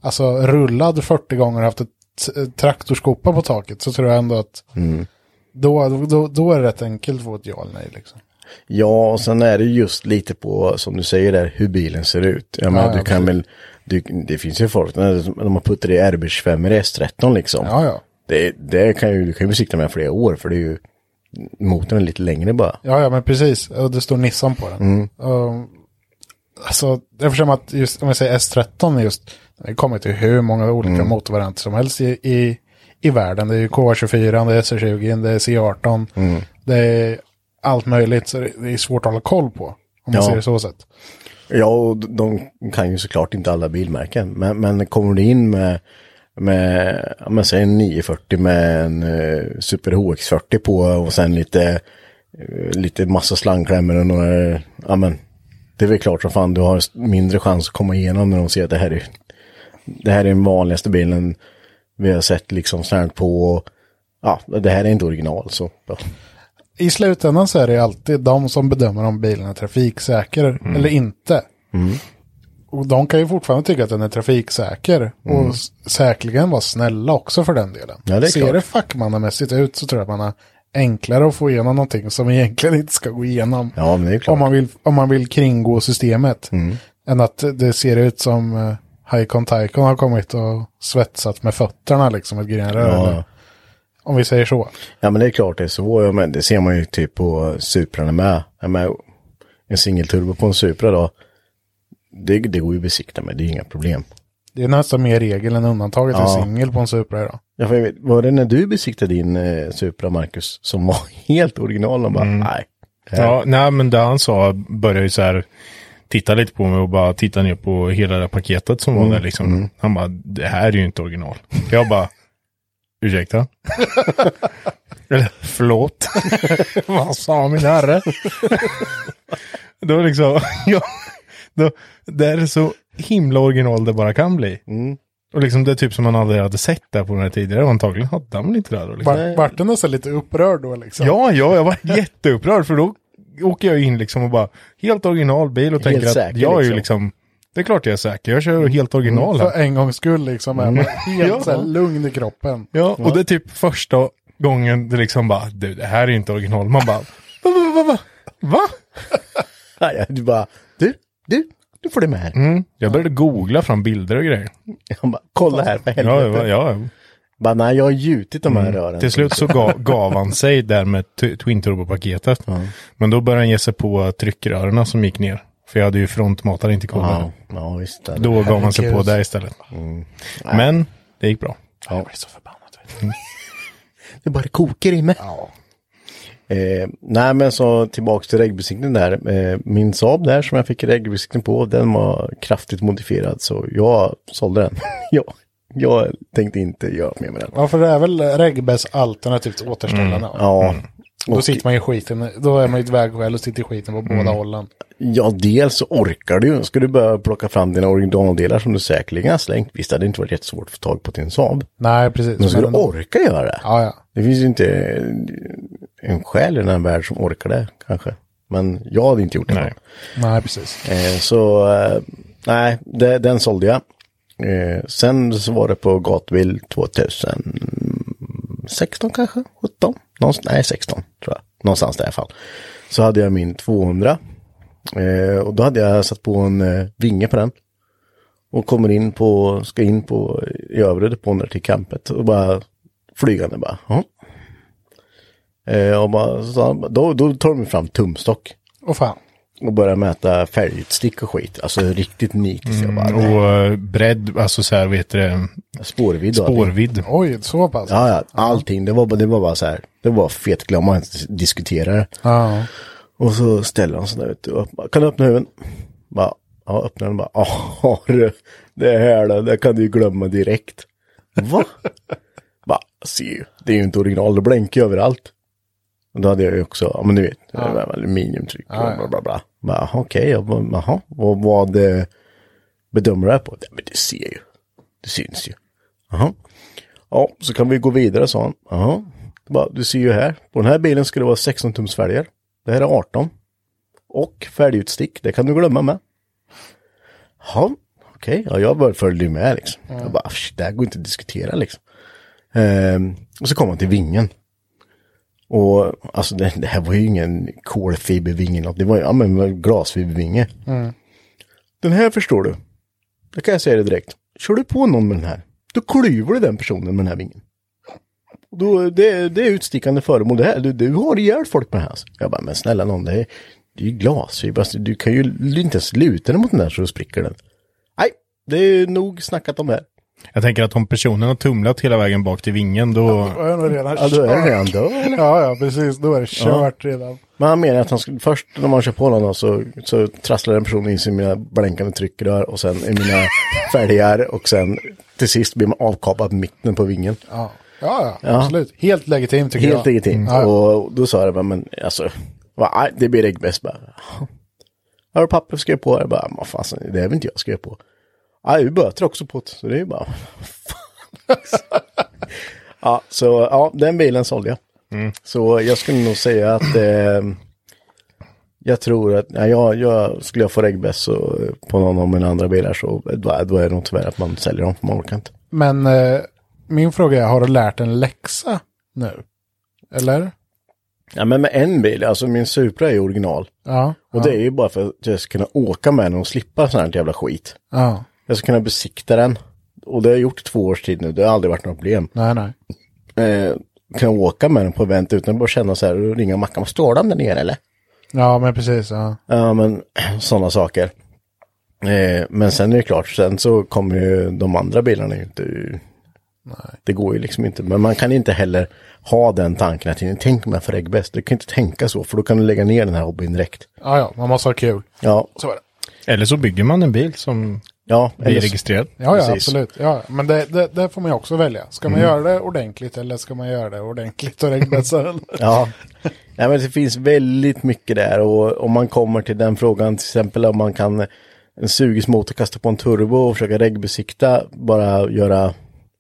Alltså rullad 40 gånger och haft ett t- traktorskopa på taket så tror jag ändå att
Mm.
då, då, då är det rätt enkelt att få ett ja eller nej. Liksom.
Ja, och sen är det just lite på, som du säger där, hur bilen ser ut. Jag
ja,
menar, du kan
precis.
väl, du, det finns ju folk, när de har puttat i RB25 i S13 liksom.
Ja, ja.
Det, det kan ju, du kan ju besikta med flera år, för det är ju, motorn är lite längre bara.
Ja, ja, men precis. Och det står Nissan på den. Um, alltså, jag förstår att just om jag säger S13 är just, det kommer till hur många olika motorvarianter som helst i, i, i världen. Det är ju K24, det är S20, det är C18, det är allt möjligt. Så det, det är svårt att hålla koll på, om man
Ja.
ser det så sett.
Ja, och de kan ju såklart inte alla bilmärken, men, men kommer du in med, med, ja men säg en 940 med en eh, Super HX40 på och sen lite, eh, lite massa slangklämmor och några, ja men, det är väl klart som fan du har mindre chans att komma igenom när de ser att det här är, det här är den vanligaste bilen vi har sett liksom snällt på och, ja, det här är inte original så. Ja.
I slutändan så är det alltid de som bedömer om bilen är trafiksäker
Mm.
eller inte. Och de kan ju fortfarande tycka att den är trafiksäker. Och s- säkerligen vara snälla också för den delen.
Mm. Ja, det är
Ser
klart.
det fackmannamässigt ut så tror jag att man har enklare att få igenom någonting som egentligen inte ska gå igenom.
Ja, men det är klart. Mm.
om, man vill, om man vill kringgå systemet. Än att det ser ut som eh, Haikon Taikon har kommit och svetsat med fötterna liksom ett grenrör.
Ja.
eller- Om vi säger så.
Ja men det är klart det är så. Ja, men det ser man ju typ på Suprarna med. Ja, men en singelturbo på en Supra då. Det, det går ju att besikta med, det är inga problem.
Det är nästan mer regel än undantaget en
Ja.
singel på en Supra idag.
Ja, för jag vet, var det när du besiktade din eh, Supra, Marcus, som var helt original? Och bara,
Mm.
nej. det här-
Ja, nej men det han sa började ju så här titta lite på mig och bara titta ner på hela det här paketet som var där liksom. Han bara, det här är ju inte original. Jag bara, ursäkta? Eller, förlåt? Vad sa min herre? då liksom, ja, då, det här är så himla original det bara kan bli. Och liksom det är typ som man aldrig hade sett där på den här tidigare och antagligen hade han väl inte det här då. Liksom.
Var, vart du nästan lite upprörd då liksom?
Ja, ja, jag var jätteupprörd för då åker jag in liksom och bara helt original bil och tänker att
säker,
jag är ju
liksom.
liksom, det är klart jag är säker, jag kör helt original
För
här.
en gångs skull liksom.
Mm.
är man Helt
Ja.
så här lugn i kroppen.
Ja, och det är typ första gången det liksom bara, du det här är inte original. Man bara, va, va, va, va? va?
Nej, Du bara, du, du, du får det med här.
Mm. Jag började googla fram bilder och grejer.
Han bara, kolla här för helvete.
Ja, ja, ja.
Bara, nej, jag har gjutit de här rören.
Till slut så gav, gav han sig där med t- Twin Turbo-paketet. Men då började han ge sig på tryckrören som gick ner. För jag hade ju frontmatare inte koll.
Ja, ja visst. det-
Då gav man sig på det istället.
Mm.
Men det gick bra.
Ja. Jag blir så förbannad. det bara kokar i mig. Eh, nej men så tillbaks till regbesiktningen där. Eh, min Saab där som jag fick regbesiktning på, den var kraftigt modifierad så jag sålde den. ja, jag tänkte inte göra mer med den.
Ja, för det är väl regbäs alternativt återställande. Ja.
Mm. Ja,
Då sitter man i skiten, då är man i ett vägskäl och sitter i skiten på
Mm.
båda hållen.
ja, dels så orkar du ju. Ska du börja plocka fram dina originaldelar som du säkerligen har slängt. Visst, det hade inte varit jättesvårt att få tag på till en Saab.
Nej, precis.
Men ska du
ändå-
orka göra det?
Ja, ja.
Det finns ju inte en själ i den här världen som orkar det kanske. Men jag hade inte gjort det.
Nej.
Nej, precis.
Eh, så eh, nej, det, den sålde jag. Eh, sen så var det på gatbil 2016 kanske, 17? Någonstans, nej, 16 tror jag. Någonstans där i alla fall. Så hade jag min 200. Eh, och då hade jag satt på en eh, vinge på den. Och kommer in på, ska in på i övre depån där till campet. Och bara flygande bara. "Ja." Eh, och bara, så, sa han, då, då tar de fram tumstock
Och fan.
och börja mäta färgutstick och skit. Alltså riktigt nitiskt. Jag bara,
Och eh, bredd, alltså så här, vet du det,
spårvidd och allting.
spårvidd.
Oj, så pass.
Ja, ja, allting. Det var, det var bara så här. Det var fetglöm, man inte diskuterade.
Ja.
Och så ställer han sig där ute och bara, kan du öppna huven? Bara, ja, öppnar den bara, ja du, det här då, det kan du ju glömma direkt. Va? Va, ser ju. Det är ju inte original, det blänkar ju överallt. Och då hade jag ju också, ja men du vet, det var aluminiumtryck och
Ja, ja.
bla bla bla. Bara, Jaha, okej, jag bara, jaha, vad, vad eh, bedömer du det här på? Ja, men du ser ju. Det syns ju. Jaha. Ja, så kan vi gå vidare, sa han. Jaha. Jag bara, Du ser ju här, på den här bilen ska det vara 16 tums fälgar. Det här är 18. Och fälgutstick, det kan du glömma med. Ja, okej. Ja, jag bara följde ju med liksom. Jag bara, "Asch, det här går inte att diskutera liksom. Ehm, och så kom han till vingen. Och alltså det, det här var ju ingen kolfibervinge, eller något. det var ju ja, men, glasfibervinge. Den här förstår du. Det kan jag säga dig direkt. Kör du på någon med den här, då klyver du den personen med den här vingen. Och Då, det, det är utstickande föremål det här. Du, du har ihjäl folk med den här. Jag bara, men snälla någon, det är, det är ju glasfiber. Alltså, du kan ju inte ens luta den mot den där så spricker den. Nej, det är nog snackat om det här.
Jag tänker att om personen har tumlat hela vägen bak till vingen då...
Då är nog redan
Ja, då Alltså, är det
kört.
redan död. eller?
Ja, ja, precis. Då är det kört redan.
Men han menar att han skulle, först när man kör på honom då, så, så trasslar den personen in sig i mina blänkande tryckrör och sen i mina fälgar och sen till sist blir man avkapad på mitten på vingen.
Ja, ja, ja absolut. Helt legitimt tycker
Helt
jag.
legitimt.
Ja, ja.
Och då sa jag bara, men alltså, va, nej, det blir det bäst bara. "Ja." Har du papper skrev på? Jag bara, vad fasen, det är väl inte jag skrev på. Nej, vi böter också på det, så det är ju bara, fan. Ja, så ja, den bilen sålde jag. Så jag skulle nog säga att eh, jag tror att, ja, jag, jag, skulle jag få reggbäst så, eh, på någon av mina andra bilar så då, då är det nog tyvärr att man säljer dem, för man orkar inte.
Men eh, min fråga är, har du lärt en läxa nu? Eller?
Ja, men med en bil, alltså min Supra är ju original.
Ja.
Och det är ju bara för att jag ska kunna åka med den och slippa sån här jävla skit.
Ja,
Jag ska kunna besikta den. Och det har jag gjort i två års tid nu, det har aldrig varit något problem.
nej, nej.
Eh, kunna åka med den på event utan att bara känna så här, och ringa Mackan, "Vad står den där nere eller?
Ja, men precis. Ja.
Ja, men sådana saker. Eh, men sen är det klart, sen så kommer ju de andra bilarna ju inte... Det går ju liksom inte, men man kan inte heller ha den tanken att tänk om jag får ägg bäst. Du kan inte tänka så, för då kan du lägga ner den här hobbyn direkt.
ja, ja, man måste ha kul.
Ja,
Så är det.
Eller så bygger man en bil som
ja.
blir
eller så-
registrerad.
Ja, ja
Precis. Mm.
absolut. Ja, men det, det, det får man ju också välja. Ska man göra det ordentligt eller ska man göra det ordentligt och regnbäsaren?
Ja, Nej, men det finns väldigt mycket där och om man kommer till den frågan, till exempel om man kan en sugismotor kasta på en turbo och försöka reggbesikta, bara göra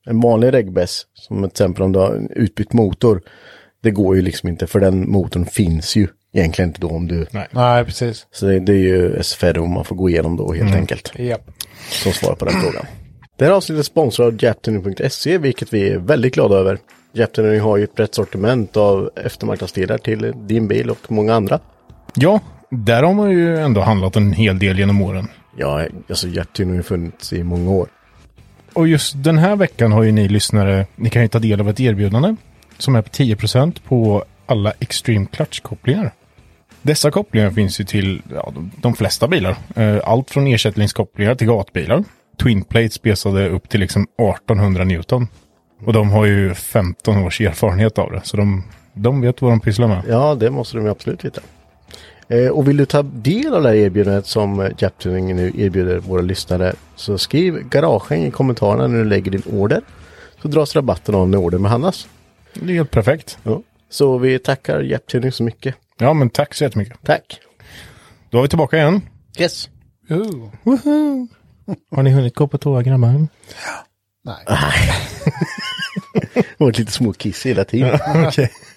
en vanlig reggbäs, som till exempel om du har en utbytt motor. Det går ju liksom inte för den motorn finns ju egentligen inte då om du...
nej, precis.
Så det, det är ju SFRO man får gå igenom då helt enkelt,
Japp.
som svar på den frågan. Det här avsnittet är sponsrat av Japtuning.se, E, vilket vi är väldigt glada över. Japtuning har ju ett brett sortiment av eftermarknadsdelar till din bil och många andra.
Ja, där har man ju ändå handlat en hel del genom åren.
Ja, alltså Japtuning har ju funnits i många år.
Och just den här veckan har ju ni lyssnare, ni kan ju ta del av ett erbjudande som är på 10% på alla Extreme Clutch-kopplingar. Dessa kopplingar finns ju till ja, de- de flesta bilar. Eh, Allt från ersättningskopplingar till gatbilar. Twin plates spesade upp till liksom 1800 Newton. Och de har ju 15 års erfarenhet av det, så de, de vet vad de pysslar med.
Ja, det måste de ju absolut veta. Eh, och vill du ta del av det här erbjudandet som Japtuning nu erbjuder våra lyssnare så skriv garagen i kommentarerna när du lägger din order. Så dras rabatten av när ordern behandlas.
Det är helt perfekt.
Ja. Så vi tackar Japtuning så mycket.
Ja, men tack så jättemycket.
Tack!
Då är vi tillbaka igen.
Yes!
Uh,
Har ni hunnit gå på toa, grabbar?
Ah.
nej.
Det har varit lite småkissig hela tiden.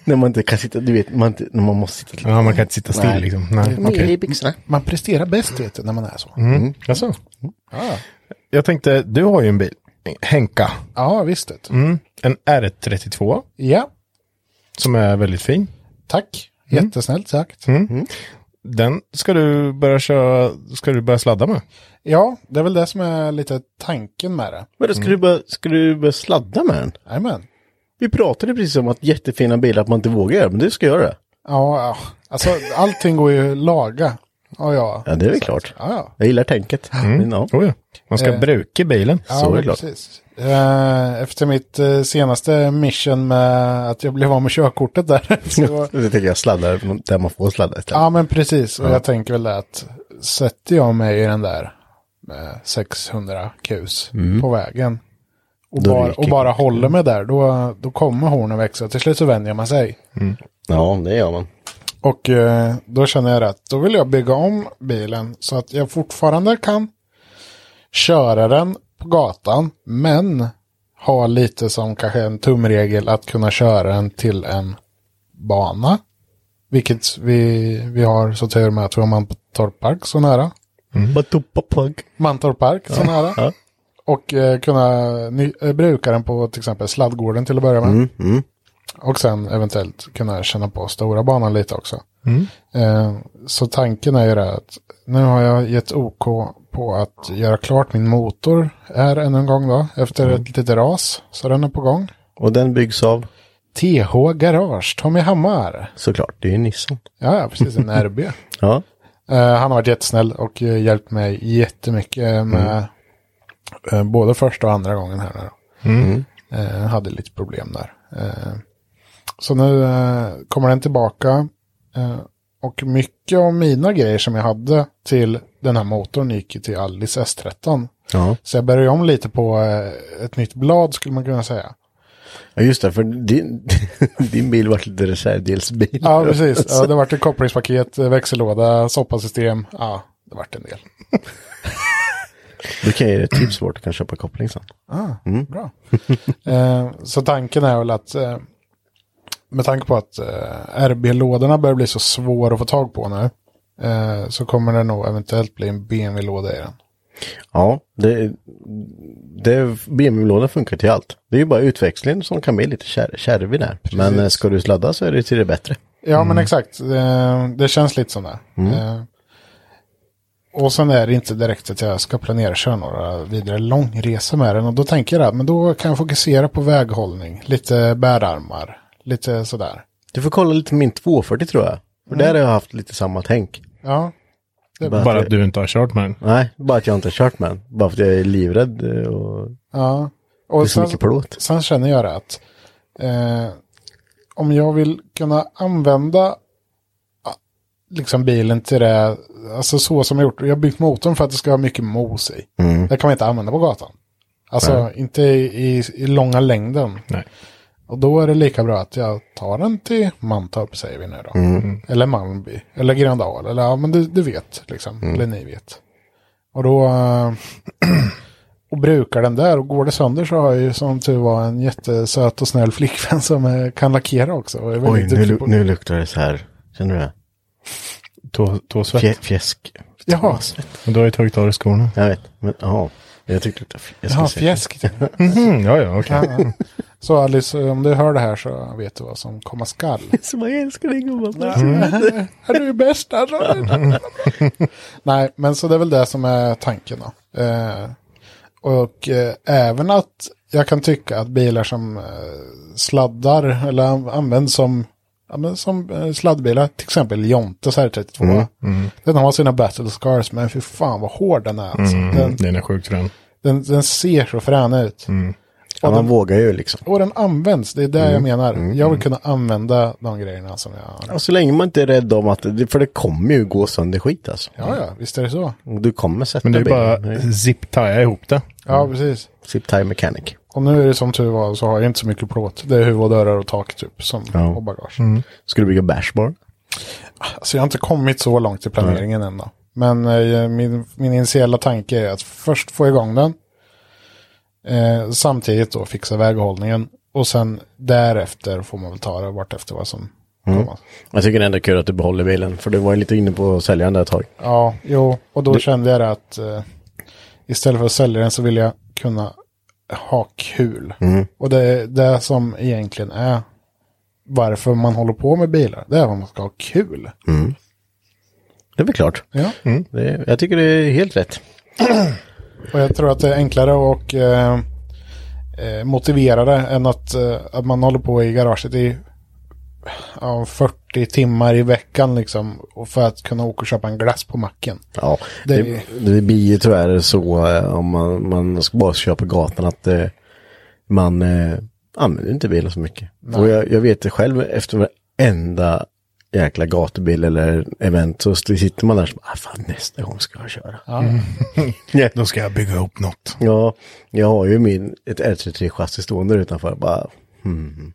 När man inte kan sitta, du vet, man inte, när man måste sitta
Ja, man kan inte sitta still
Nej.
liksom. Nej, okej.
i byxorna.
Man presterar bäst vet du, när man är så.
Mm. Jaså? Ah. Jag tänkte, du har ju en bil, Henka.
Ja, visst vet du.
Mm. En R32
Ja,
som är väldigt fin.
tack.
Mm.
Jättesnällt sagt.
Den ska du börja köra, ska du börja sladda med.
Ja, det är väl det som är lite tanken med det.
Men då ska, du börja, ska du börja sladda med den?
Jajamän.
Vi pratade precis om att jättefina bilar att man inte vågar göra, men du ska göra det.
Ja, ja, alltså allting går ju laga. Ja, ja.
Ja, det är väl klart.
Ja, ja.
Jag gillar tänket. Men ja.
Oh, ja. Man ska bruka bilen.
Ja,
Så är
men
det klart.
precis. Eh, Efter mitt eh, senaste mission med att jag blev av med körkortet där. Så,
Det tänker jag sladdar där man får sladda istället.
ja, men precis. Och jag tänker väl det att sätter jag mig i den där eh, 600 kus
Mm.
på vägen och
Då
bara,
ryker
och bara
korten.
håller mig där, då, då kommer hornen växa. Till slut så vänjer man sig.
Ja, det gör man.
Och eh, då känner jag att då vill jag bygga om bilen så att jag fortfarande kan köra den på gatan men ha lite som kanske en tumregel att kunna köra den till en bana. Vilket vi, vi har så tur med att vi har Mantorp Park så nära.
Mm. Batuppa punk.
Mantorp Park så nära.
Ja.
Och eh, kunna ny- eh, bruka den på till exempel sladdgården till att börja med.
Mm, mm.
Och sen eventuellt kunna känna på stora banan lite också.
Mm.
Eh, så tanken är ju det att nu har jag gett OK på att göra klart min motor här ännu en gång då. Efter
Mm.
ett litet ras. Så den är på gång.
Och den byggs av,
TH Garage, Tommy Hammar.
såklart, det är ju Nissan.
Ja, ja, precis. En RB.
Ja.
Eh, han har varit jättesnäll och eh, hjälpt mig jättemycket eh, med
Mm.
eh, både första och andra gången här nu då. Eh, hade lite problem där. Eh, så nu eh, kommer den tillbaka. Eh, och mycket av mina grejer som jag hade till den här motorn gick ju till Alice S13.
Ja.
Så jag började om lite på eh, ett nytt blad skulle man kunna säga.
ja, just det, för din, din bil vart lite reservdelsbil.
Ja, precis. Ja, det vart ett kopplingspaket, eh, växellåda, soppasystem. Ja, det vart en del.
Du kan jag ge dig ett tips på vart du kan köpa koppling sen.
Ah,
Mm.
Bra. eh, så tanken är väl att eh, med tanke på att eh, RB-lådorna börjar bli så svåra att få tag på nu eh, så kommer det nog eventuellt bli en BMW-låda i den.
Ja, det, det, BMW-lådan funkar till allt. Det är ju bara utväxlingen som kan bli lite kär, kärvig där. Men eh, ska du sladda så är det till det bättre.
Ja, men
Mm.
exakt. Eh, det känns lite som det. Eh, och sen är det inte direkt att jag ska planera att köra några vidare långresor med den. Och då tänker jag att men då kan jag fokusera på väghållning, lite bärarmar, lite sådär.
Du får kolla lite min 240 tror jag. För
Mm.
där har jag haft lite samma tänk.
Ja,
Bara
att
att du inte har kört med den.
Nej, bara att jag inte har kört med den. Bara för att jag är livrädd eh, och
ja.
det är
Och
så mycket plåt.
Sen känner jag det att eh, om jag vill kunna använda ah, liksom bilen till det, alltså så som jag gjort, jag har byggt motorn för att det ska ha mycket mos i.
Mm.
Det kan man inte använda på gatan. Alltså inte i, i, i långa längden.
Nej.
Och då är det lika bra att jag tar den till Mantorp säger vi nu då.
Mm.
Eller Malmby, eller Gröndal, eller ja men du, du vet liksom,
Mm.
eller ni vet. Och då... eh, och brukar den där och går det sönder så har jag ju som tur var en jättesöt och snäll flickvän som eh, kan lackera också. Och är
Oj,
väldigt
nu,
duktig
lu-
på...
nu luktar det så här. Känner du det?
Tåsvett.
Fjä, fjäsk.
Jaha,
Men du har ju tagit av dig skorna.
Jag vet, men ja. Jag tyckte det luktade
jaha
fjäsk.
fjäsk.
Mhm, ja, ja, okej.
Ja. så Alice, om du hör det här så vet du vad som komma skall.
Som jag älskar dig gumman.
är du bäst alltså? Nej, men så det är väl det som är tanken då. Eh, och eh, även att jag kan tycka att bilar som eh, sladdar eller an- används som, ja, men som eh, sladdbilar, till exempel Jontes R32. Den har sina battle scars, men fy fan vad hård den är. Alltså. Den,
Den är sjukt frän.
den, den ser så frän ut.
Ja, man vågar ju liksom.
Och den används, det är det jag menar. Jag vill kunna använda de grejerna som jag...
Ja, Alltså, så länge man inte är rädd om att, det- för det kommer ju gå sönder skit alltså.
Ja, ja, visst är det så.
Och Du kommer sätta
Men det är bara
bilen.
zip-taja ihop det.
Ja, precis.
Zip tie mechanic.
Och nu är det som tur var så har jag inte så mycket plåt. Det är huvud, och dörrar och tak typ som
Ja. Mm.
och bagage.
Ska du bygga bashbar?
Så jag har inte kommit så långt i planeringen än då. Men eh, min, min initiala tanke är att först få igång den. Eh, samtidigt då fixa väghållningen. Och sen därefter får man väl ta det vart efter vad som kommer.
Jag tycker det är ändå kul att du behåller bilen. För du var ju lite inne på att sälja den där ett tag.
Ja, jo, och då kände jag det att eh, istället för att sälja den så vill jag kunna ha kul. Och det är det som egentligen är varför man håller på med bilar. Det är vad man ska ha kul.
Det är väl klart.
Ja.
Mm.
Det är, jag tycker det är helt rätt.
Och jag tror att det är enklare och eh, eh, motiverade än att, eh, att man håller på i garaget i ja, 40 timmar i veckan liksom. Och för att kunna åka och köpa en glass på macken.
Ja,
Det
det,
är-
det, blir ju tyvärr så eh, om man, man ska bara köra på gatan att eh, man eh, använder inte bilen så mycket. Och jag, jag vet det själv efter varenda jäkla gatubil eller event så sitter man där som, ah, fan, nästa gång ska jag köra.
Då ska jag bygga ihop något.
Ja, jag har ju min, ett R33-chassi stående utanför. Bara, hmm.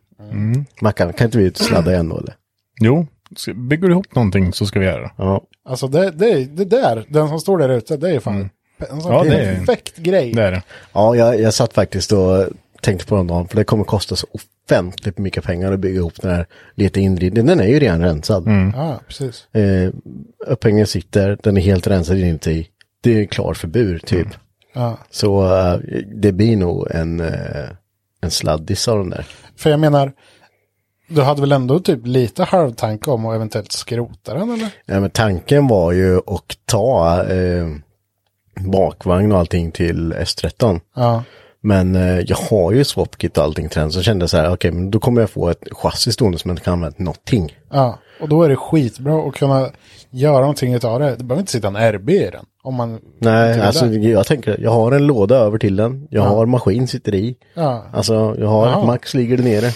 Mackan, kan inte vi ut och sladda igen då eller?
Jo, ska- bygger du ihop någonting så ska vi göra det.
Ja,
Alltså det, det, det där, den som står där ute, det är fan en sån
Mm. Ja, det är-
perfekt grej.
Det är det.
ja jag, jag satt faktiskt och tänkte på den dagen, för det kommer kosta så offentligt mycket pengar att bygga ihop den här lite inridningen. Den är ju redan rensad.
Ja, precis.
Eh, upphängningen sitter, den är helt rensad inuti. Det är ju klar för bur typ.
Ja.
Så eh, det blir nog en, eh, en sladdis av den där.
För jag menar, du hade väl ändå typ lite halvtanke om att eventuellt skrota den eller?
Nej, men tanken var ju att ta eh, bakvagn och allting till S13.
Ja,
Men eh, jag har ju swapkit och allting till den, så kände jag så här, okej, men då kommer jag få ett chassi stående som jag inte kan använda till någonting.
ja. Och då är det skitbra att kunna göra någonting utav det. Det behöver inte sitta en RB i den. Om man inte
Nej,
vill
alltså
det.
jag tänker, jag har en låda över till den, jag har maskin sitter i,
Ja.
alltså jag har,
Ja. Mm.
max ligger det nere.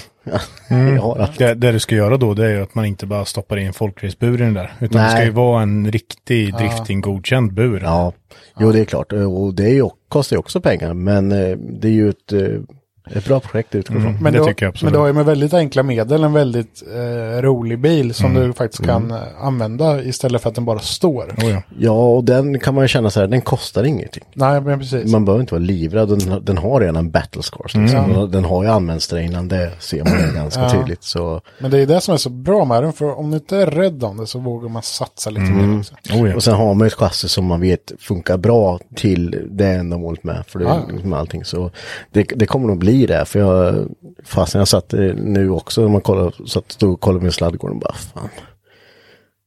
jag har allt.
det. Det du ska göra då det är ju att man inte bara stoppar in folkracebur i den där. Utan det
Nej.
ska ju vara en riktig driftinggodkänd bur.
Ja, jo det är klart. Och det är ju, kostar ju också pengar, men eh, det är ju ett, eh, ett bra projekt att utgå ifrån.
Men
det
du,
tycker jag absolut.
Men du har ju med väldigt enkla medel en väldigt eh, rolig bil som
Mm.
du faktiskt kan eh, använda istället för att den bara står.
Oh, ja.
Ja, och den kan man ju känna så här, den kostar ingenting.
Nej, men precis.
Man behöver inte vara livrädd, den, den har redan en battle scores.
Mm.
Liksom. Den, den har ju använts där innan, det ser man ju ganska tydligt. Så.
Men det är det som är så bra med den, för om du inte är rädd om det så vågar man satsa lite mer
Mm.
också.
Oh, ja.
Och sen har man ju ett chassi som man vet funkar bra till det ändamålet med. För det,
Ja.
med allting. Så det, det kommer nog bli det. För jag, fastän jag satt eh, nu också, när man kollar, satt, stod och kollade min sladdgård och bara fan.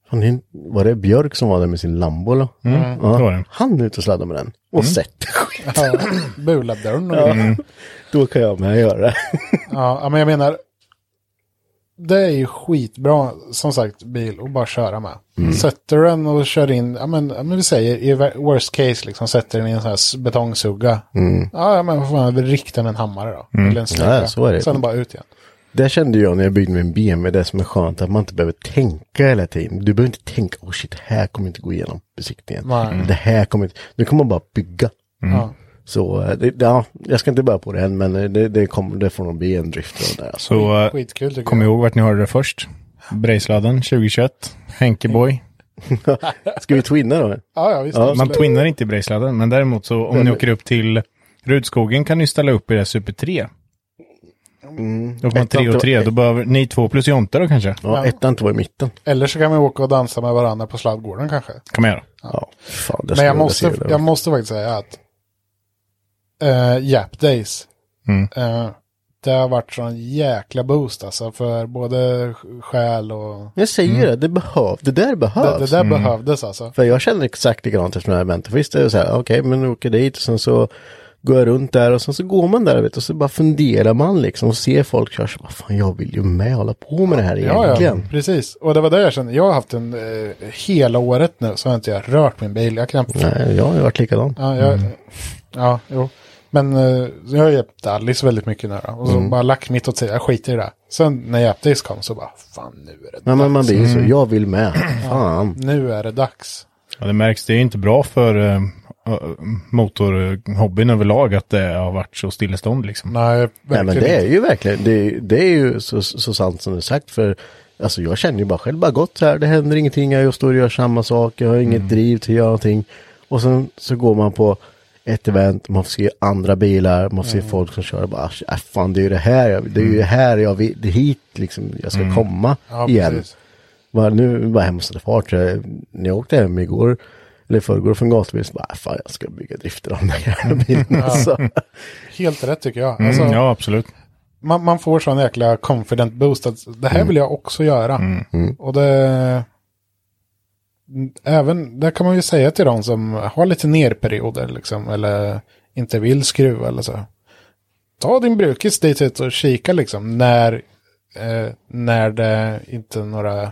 fan det är en- var det Björk som var där med sin Lambo? eller?
Mm, det var det. Mm.
Han är ute och sladdar med den. Och sett skit.
Ja, Bula dörren och
Då kan jag med göra det.
ja. ja, men jag menar, det är ju skitbra, som sagt, bil och bara köra med.
Mm.
Sätter du den och kör in, ja men, ja, men vi säger i ver- worst case liksom, sätter den i en sån här s- betongsugga. Ja, ja, men vad fan, vi riktar en hammare då. Eller en slägga.
Mm. Ja, så är det.
Sen bara ut igen.
Det kände jag när jag byggde min BMW, det som är skönt att man inte behöver tänka hela tiden. Du behöver inte tänka, oh shit, det här kommer inte gå igenom besiktningen.
Nej.
Det här kommer inte, nu kan man bara bygga.
Ja.
Så eh, det, ja, jag ska inte börja på det än, men eh, det, det, kommer, det får nog bli en drift av det där. Alltså.
Så eh,
Skitkul tycker
kom
jag.
ihåg vart ni hörde det först. Brejsladden 2021. Henkeboy.
Ska vi twinna då?
Ja, ja, visst.
Man
absolut.
twinnar inte i Brejsladden. Men däremot så om ni åker upp till Rudskogen kan ni ställa upp i det här Super 3. Då åker man
Ett
3 och
annat-
3. Då behöver ni två plus Jonte då kanske.
Ja, ettan inte var i mitten.
Eller så kan vi åka och dansa med varandra på sladdgården kanske.
Kan man göra.
Ja, fan, det
Men
skulle
jag
vilja se
måste,
hur det
jag
var.
måste faktiskt säga att uh, Jap Days,
Mm.
eh, det har varit sån jäkla boost alltså för både själ och...
jag säger det, det, behöv, det där
Mm. Det,
behövs.
det där behövdes alltså.
Mm. För jag känner exakt likadant efter den här eventen. Visst det är det så här, okej, men nu åker jag dit och sen så går jag runt där och sen så går man där vet, du, och så bara funderar man liksom och ser folk köra så vad fan jag vill ju med hålla på med det här
Ja, ja,
egentligen.
precis. Och det var det jag kände. Jag har haft en eh, hela året nu så har inte jag rört min bil. Jag har knappt...
Nej, Mm. jag har ju varit likadan.
Ja, jag, ja jo. Men eh, jag har hjälpt Alice väldigt mycket nu då. Och
Mm.
så bara lagt mitt åt sidan, jag skiter i det. Sen när Jap Days kom så bara, fan nu är det Mm.
Nej, men man blir ju så, jag vill med. Fan.
Nu är det dags.
Ja, det märks. Det är inte bra för eh, ö- motorhobbyn överlag att det har varit så stillestånd liksom.
Nej, verkligen
Nej, men det är
inte.
ju verkligen, det, det är ju så, så sant som du sagt. För alltså jag känner ju bara själv, bara gott så här, det händer ingenting, jag står och gör samma sak, jag har inget
Mm.
driv till att göra någonting. Och sen så går man på ett event, man får se andra bilar, man får
Mm.
se folk som kör, bara, "Ah, fan det är ju det här, jag, det är ju det här jag vill, det är hit liksom jag ska komma
Mm. Ja,
igen.
precis.
Bara, nu var jag hemma och satte fart, så jag- när jag åkte hem igår, eller i förrgår från gatubil, så bara, "Ah, fan jag ska bygga drifter av den här
Mm.
jävla bilen alltså.
Helt rätt tycker jag.
Mm,
Alltså,
ja, absolut.
man, man får sån jäkla confident boost att det
Mm.
här vill jag också göra. Och det... Även, där kan man ju säga till de som har lite nerperioder liksom, eller inte vill skruva eller så. Ta din brukis dit ut och kika liksom när, eh, när det inte är några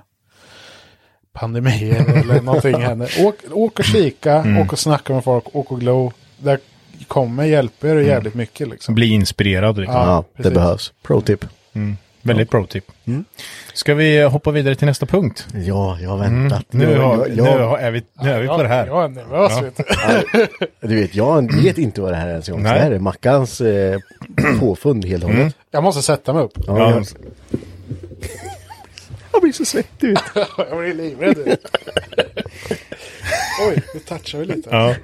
pandemier eller någonting händer. Åk, åk och kika,
Mm.
åk och snacka med folk, åk och glo. Det
Mm.
kommer hjälpa er jävligt mycket liksom.
Bli inspirerad. Liksom.
Ja, det
precis.
behövs. Pro-tip.
Väldigt pro-tip. Ska vi hoppa vidare till nästa punkt?
Ja, jag har väntat.
Nu,
Jag-
har,
jag- jag-
nu har, är vi, nu är vi på det här.
Jag är nervös
Ja.
vet du.
Du vet, jag vet inte vad det här är ens en gång. Det
Nej.
här är Mackans eh, påfund helt och hållet.
Jag måste sätta mig upp.
Ja,
Ja.
jag, jag blir så svettig. vet du.
Jag blir livrädd. Oj, nu touchar vi lite.
Ja.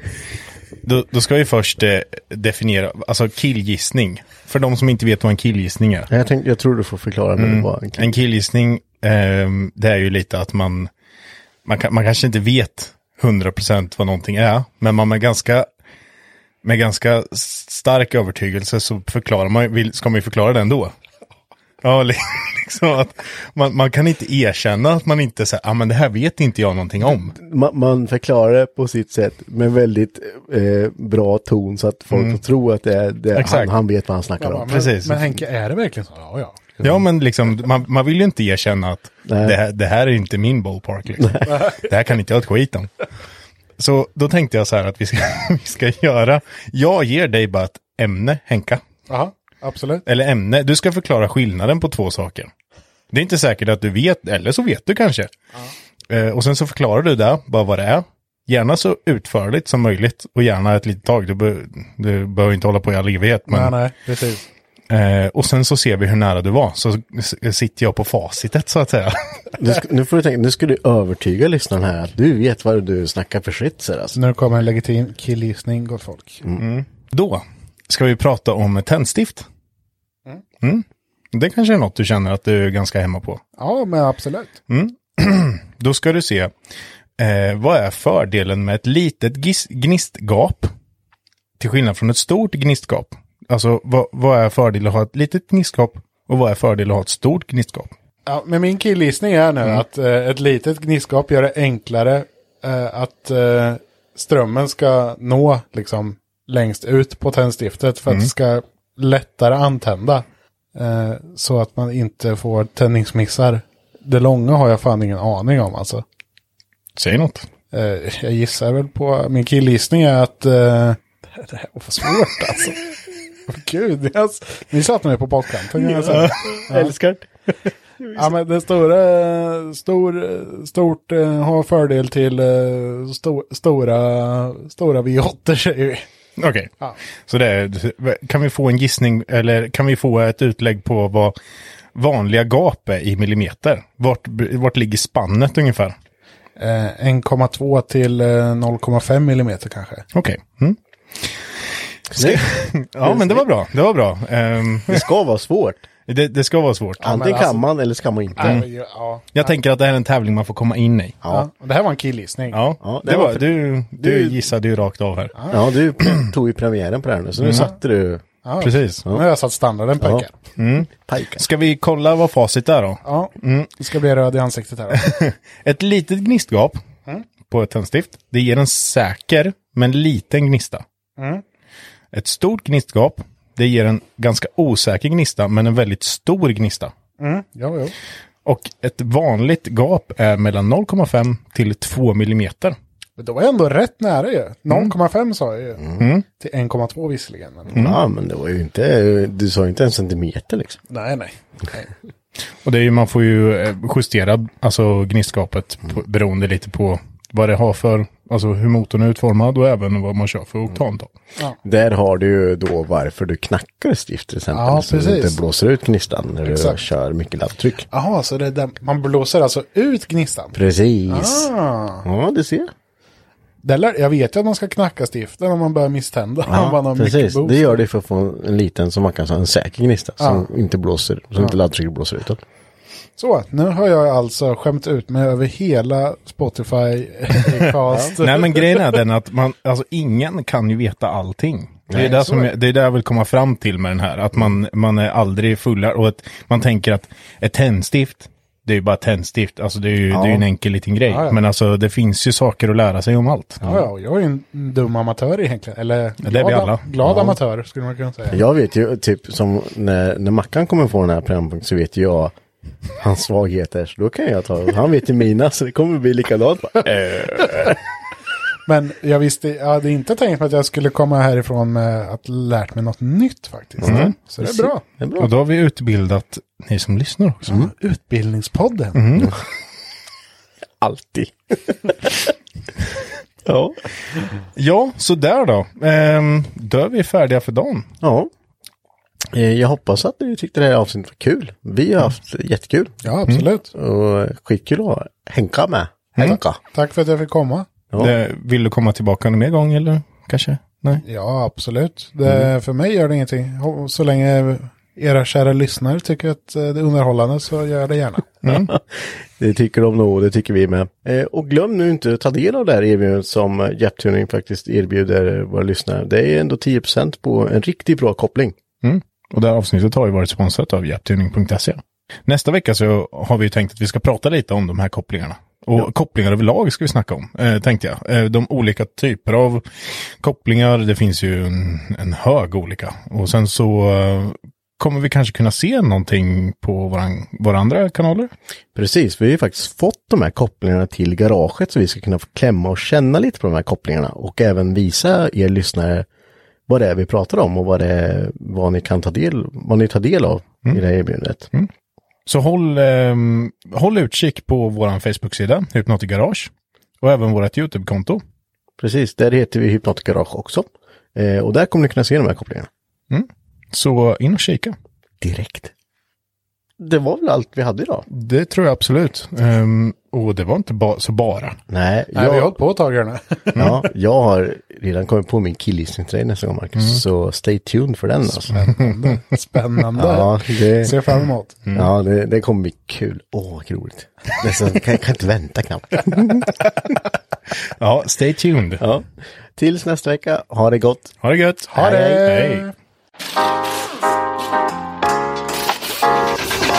Då, då ska vi först eh, definiera, alltså killgissning. För de som inte vet vad en killgissning är.
jag, tänkte, jag tror du får förklara nu. vad en
En killgissning, ehm, det är ju lite att man, man, kan, man kanske inte vet 100% vad någonting är, men man med ganska, med ganska stark övertygelse så förklarar man, ju- vill, ska man ju förklara den då. Ja, li- liksom att man, man kan inte erkänna att man inte säger, ah, men det här vet inte jag någonting om.
man, man förklarar det på sitt sätt med väldigt eh, bra ton så att folk tror att det är, det är han,
Exakt.
han vet vad han snackar
Ja,
om.
men,
precis.
men Henke, är det verkligen så? Ja, ja.
Ja, men liksom, man, man vill ju inte erkänna att
Nej.
det här, det här är inte min ballpark. Liksom. Det här kan inte jag ett skit om. Så då tänkte jag så här att vi ska, vi ska göra, jag ger dig bara ett ämne, Henka.
Jaha, absolut.
Eller ämne, du ska förklara skillnaden på två saker. Det är inte säkert att du vet, eller så vet du kanske. Eh, och sen så förklarar du det, bara vad det är. Gärna så utförligt som möjligt och gärna ett litet tag. Du, be, du behöver inte hålla på i all evighet. Men,
Nej, nej, precis.
Eh, och sen så ser vi hur nära du var. Så s- sitter jag på facitet så att säga.
Nu, ska, nu får du tänka, nu ska du övertyga lyssnaren här att du vet vad du snackar för shit. så där, Alltså.
Nu kommer en legitim killgissning, gott folk.
Mm. Då ska vi prata om tändstift. Mm. Det kanske är något du känner att du är ganska hemma på.
Ja, men absolut.
Då ska du se, eh, vad är fördelen med ett litet gis- gnistgap? Till skillnad från ett stort gnistgap. Alltså, vad, vad är fördelen att ha ett litet gnistgap? Och vad är fördelen att ha ett stort gnistgap?
Ja, men min killgissning är nu att eh, ett litet gnisskap gör det enklare eh, att eh, strömmen ska nå liksom längst ut på tändstiftet för att det ska lättare antända. Eh, så att man inte får tändningsmissar. Det långa har jag fan ingen aning om alltså.
Säg något.
Eh, jag gissar väl på, min killgissning är att... Eh, det här var för svårt alltså. Åh, Gud, jag, ni satte mig på bakkanten. kan jag säga.
Älskar.
Ja, men den stora, stor, stort eh, har fördel till eh, sto, stora, stora V8 säger vi.
Okej.
Ja.
Så det är, kan vi få en gissning eller kan vi få ett utlägg på vad vanliga gap är i millimeter? Vart, vart ligger spannet ungefär?
Eh, 1,2 till eh, 0,5 millimeter kanske.
Okej. Mm. Ska- ja, men det var bra. Det var bra. Ehm,
Det ska vara svårt.
det, det ska vara svårt.
Antingen
alltså-
kan man eller så kan man inte.
Nej, men, Mm. ja.
Jag tänker att det här är en tävling man får komma in i.
Ja. Det här var en killgissning.
Ja,
Ja,
det var, du, du
du-
gissade ju rakt av här.
Ja, du tog ju premiären på det här nu, så nu satte du
Mm. Ja.
Precis.
Nu har jag satt standarden pojkar. Ja.
pajkan.
Ska vi kolla vad facit är då?
Det ska bli röd i ansiktet här.
Ett litet gnistgap på ett tändstift. Det ger en säker men liten gnista. Ett stort gnistgap. Det ger en ganska osäker gnista men en väldigt stor gnista.
ja, jo.
Och ett vanligt gap är mellan 0,5 till 2 millimeter.
Men då var jag ändå rätt nära ju. 0,5 sa jag ju. Till 1,2 visserligen. Men...
Ja, men det var ju inte, du sa ju inte en centimeter liksom.
Nej, nej.
Och det är ju, man får ju eh, justera alltså gnistgapet på, beroende lite på vad det har för, alltså hur motorn är utformad och även vad man kör för oktantal.
Där har du ju då varför du knackar stift till exempel.
Ja,
så att det
precis.
inte blåser ut gnistan när du
Exakt.
kör mycket laddtryck.
Jaha, så det är där, man blåser alltså ut gnistan.
Precis.
Ah.
Ja, du ser.
Där lär, jag vet ju att man ska knacka stiften om man börjar misstända. om man
Ja,
har
precis.
mycket boost.
Det gör det för att få en liten, som man kan säga, en säker gnista. Som inte blåser, som inte laddtrycket blåser utåt.
Så, nu har jag alltså skämt ut mig över hela Spotify cast.
Nej men grejen är den att man, alltså ingen kan ju veta allting. Det är,
Nej,
där
så
som
är
jag, det är där jag vill komma fram till med den här, att man, man är aldrig fullare och att man tänker att ett tändstift, det är ju bara ett tändstift, alltså det är ju, det är ju en enkel liten grej.
ja.
Men alltså det finns ju saker att lära sig om allt.
Ja, ja, och jag är ju en dum amatör egentligen. Eller
Ja, det är vi alla.
glad amatör skulle man kunna säga.
Jag vet ju, typ som när, när Mackan kommer få den här programpunkten så vet ju jag hans svagheter. Så då kan jag ta, han vet ju mina så det kommer bli likadant. Bara, eh.
Men jag visste, jag hade inte tänkt mig att jag skulle komma härifrån med att lärt mig något nytt faktiskt.
Mm.
Så det är bra.
Och då har vi utbildat ni som lyssnar också.
Mm. Utbildningspodden.
Mm.
Alltid. ja.
Ja, så där då. Ehm, då är vi färdiga för dagen.
Ja. Eh, Jag hoppas att ni tyckte det här avsnittet var kul. Vi har haft jättekul.
Ja, absolut.
Och eh, skitkul att ha Henka med. Henka.
Tack för att jag fick komma.
Ja.
Det, Eh, vill du komma tillbaka någon mer gång eller kanske? Nej.
Ja, absolut. Det, För mig gör det ingenting. Ho- Så länge era kära lyssnare tycker att eh, det är underhållande så gör jag det gärna.
Det tycker de nog, det tycker vi med. Eh, och glöm nu inte att ta del av det här erbjudandet som eh, Japtuning faktiskt erbjuder eh, våra lyssnare. Det är ändå 10% på en riktigt bra koppling.
Och det här avsnittet har ju varit sponsrat av japtuning.se. Nästa vecka så har vi ju tänkt att vi ska prata lite om de här kopplingarna. Och kopplingar överlag ska vi snacka om, eh, tänkte jag. Eh, de olika typer av kopplingar, det finns ju en, en hög olika. Och sen så eh, kommer vi kanske kunna se någonting på våran, våra andra kanaler.
Precis, vi har ju faktiskt fått de här kopplingarna till garaget så vi ska kunna få klämma och känna lite på de här kopplingarna och även visa er lyssnare vad det är vi pratar om och vad, det är, vad ni kan ta del, vad ni tar del av i det här erbjudandet.
Så håll, eh, håll utkik på vår Facebook-sida, Hypnotic Garage. Och även vårt YouTube-konto.
Precis, där heter vi Hypnotic Garage också. Eh, och där kommer ni kunna se de här kopplingarna
Så in och kika.
direkt. Det var väl allt vi hade idag?
Det tror jag absolut. Ehm, och det var inte ba- så bara.
Nej,
Nej, vi har
jag,
hållit på ett tag här nu.
ja, jag har redan kommit på min killgissning till dig nästa gång Marcus, så stay tuned för den alltså.
Spännande.
Ja, det,
Ser fram emot.
ja, det, det kommer bli kul. Åh, vad roligt. Nästan, kan, jag kan inte vänta knappt.
Ja, stay tuned.
Ja. Tills nästa vecka, ha det gott.
Ha det gött.
Ha det.
Hej.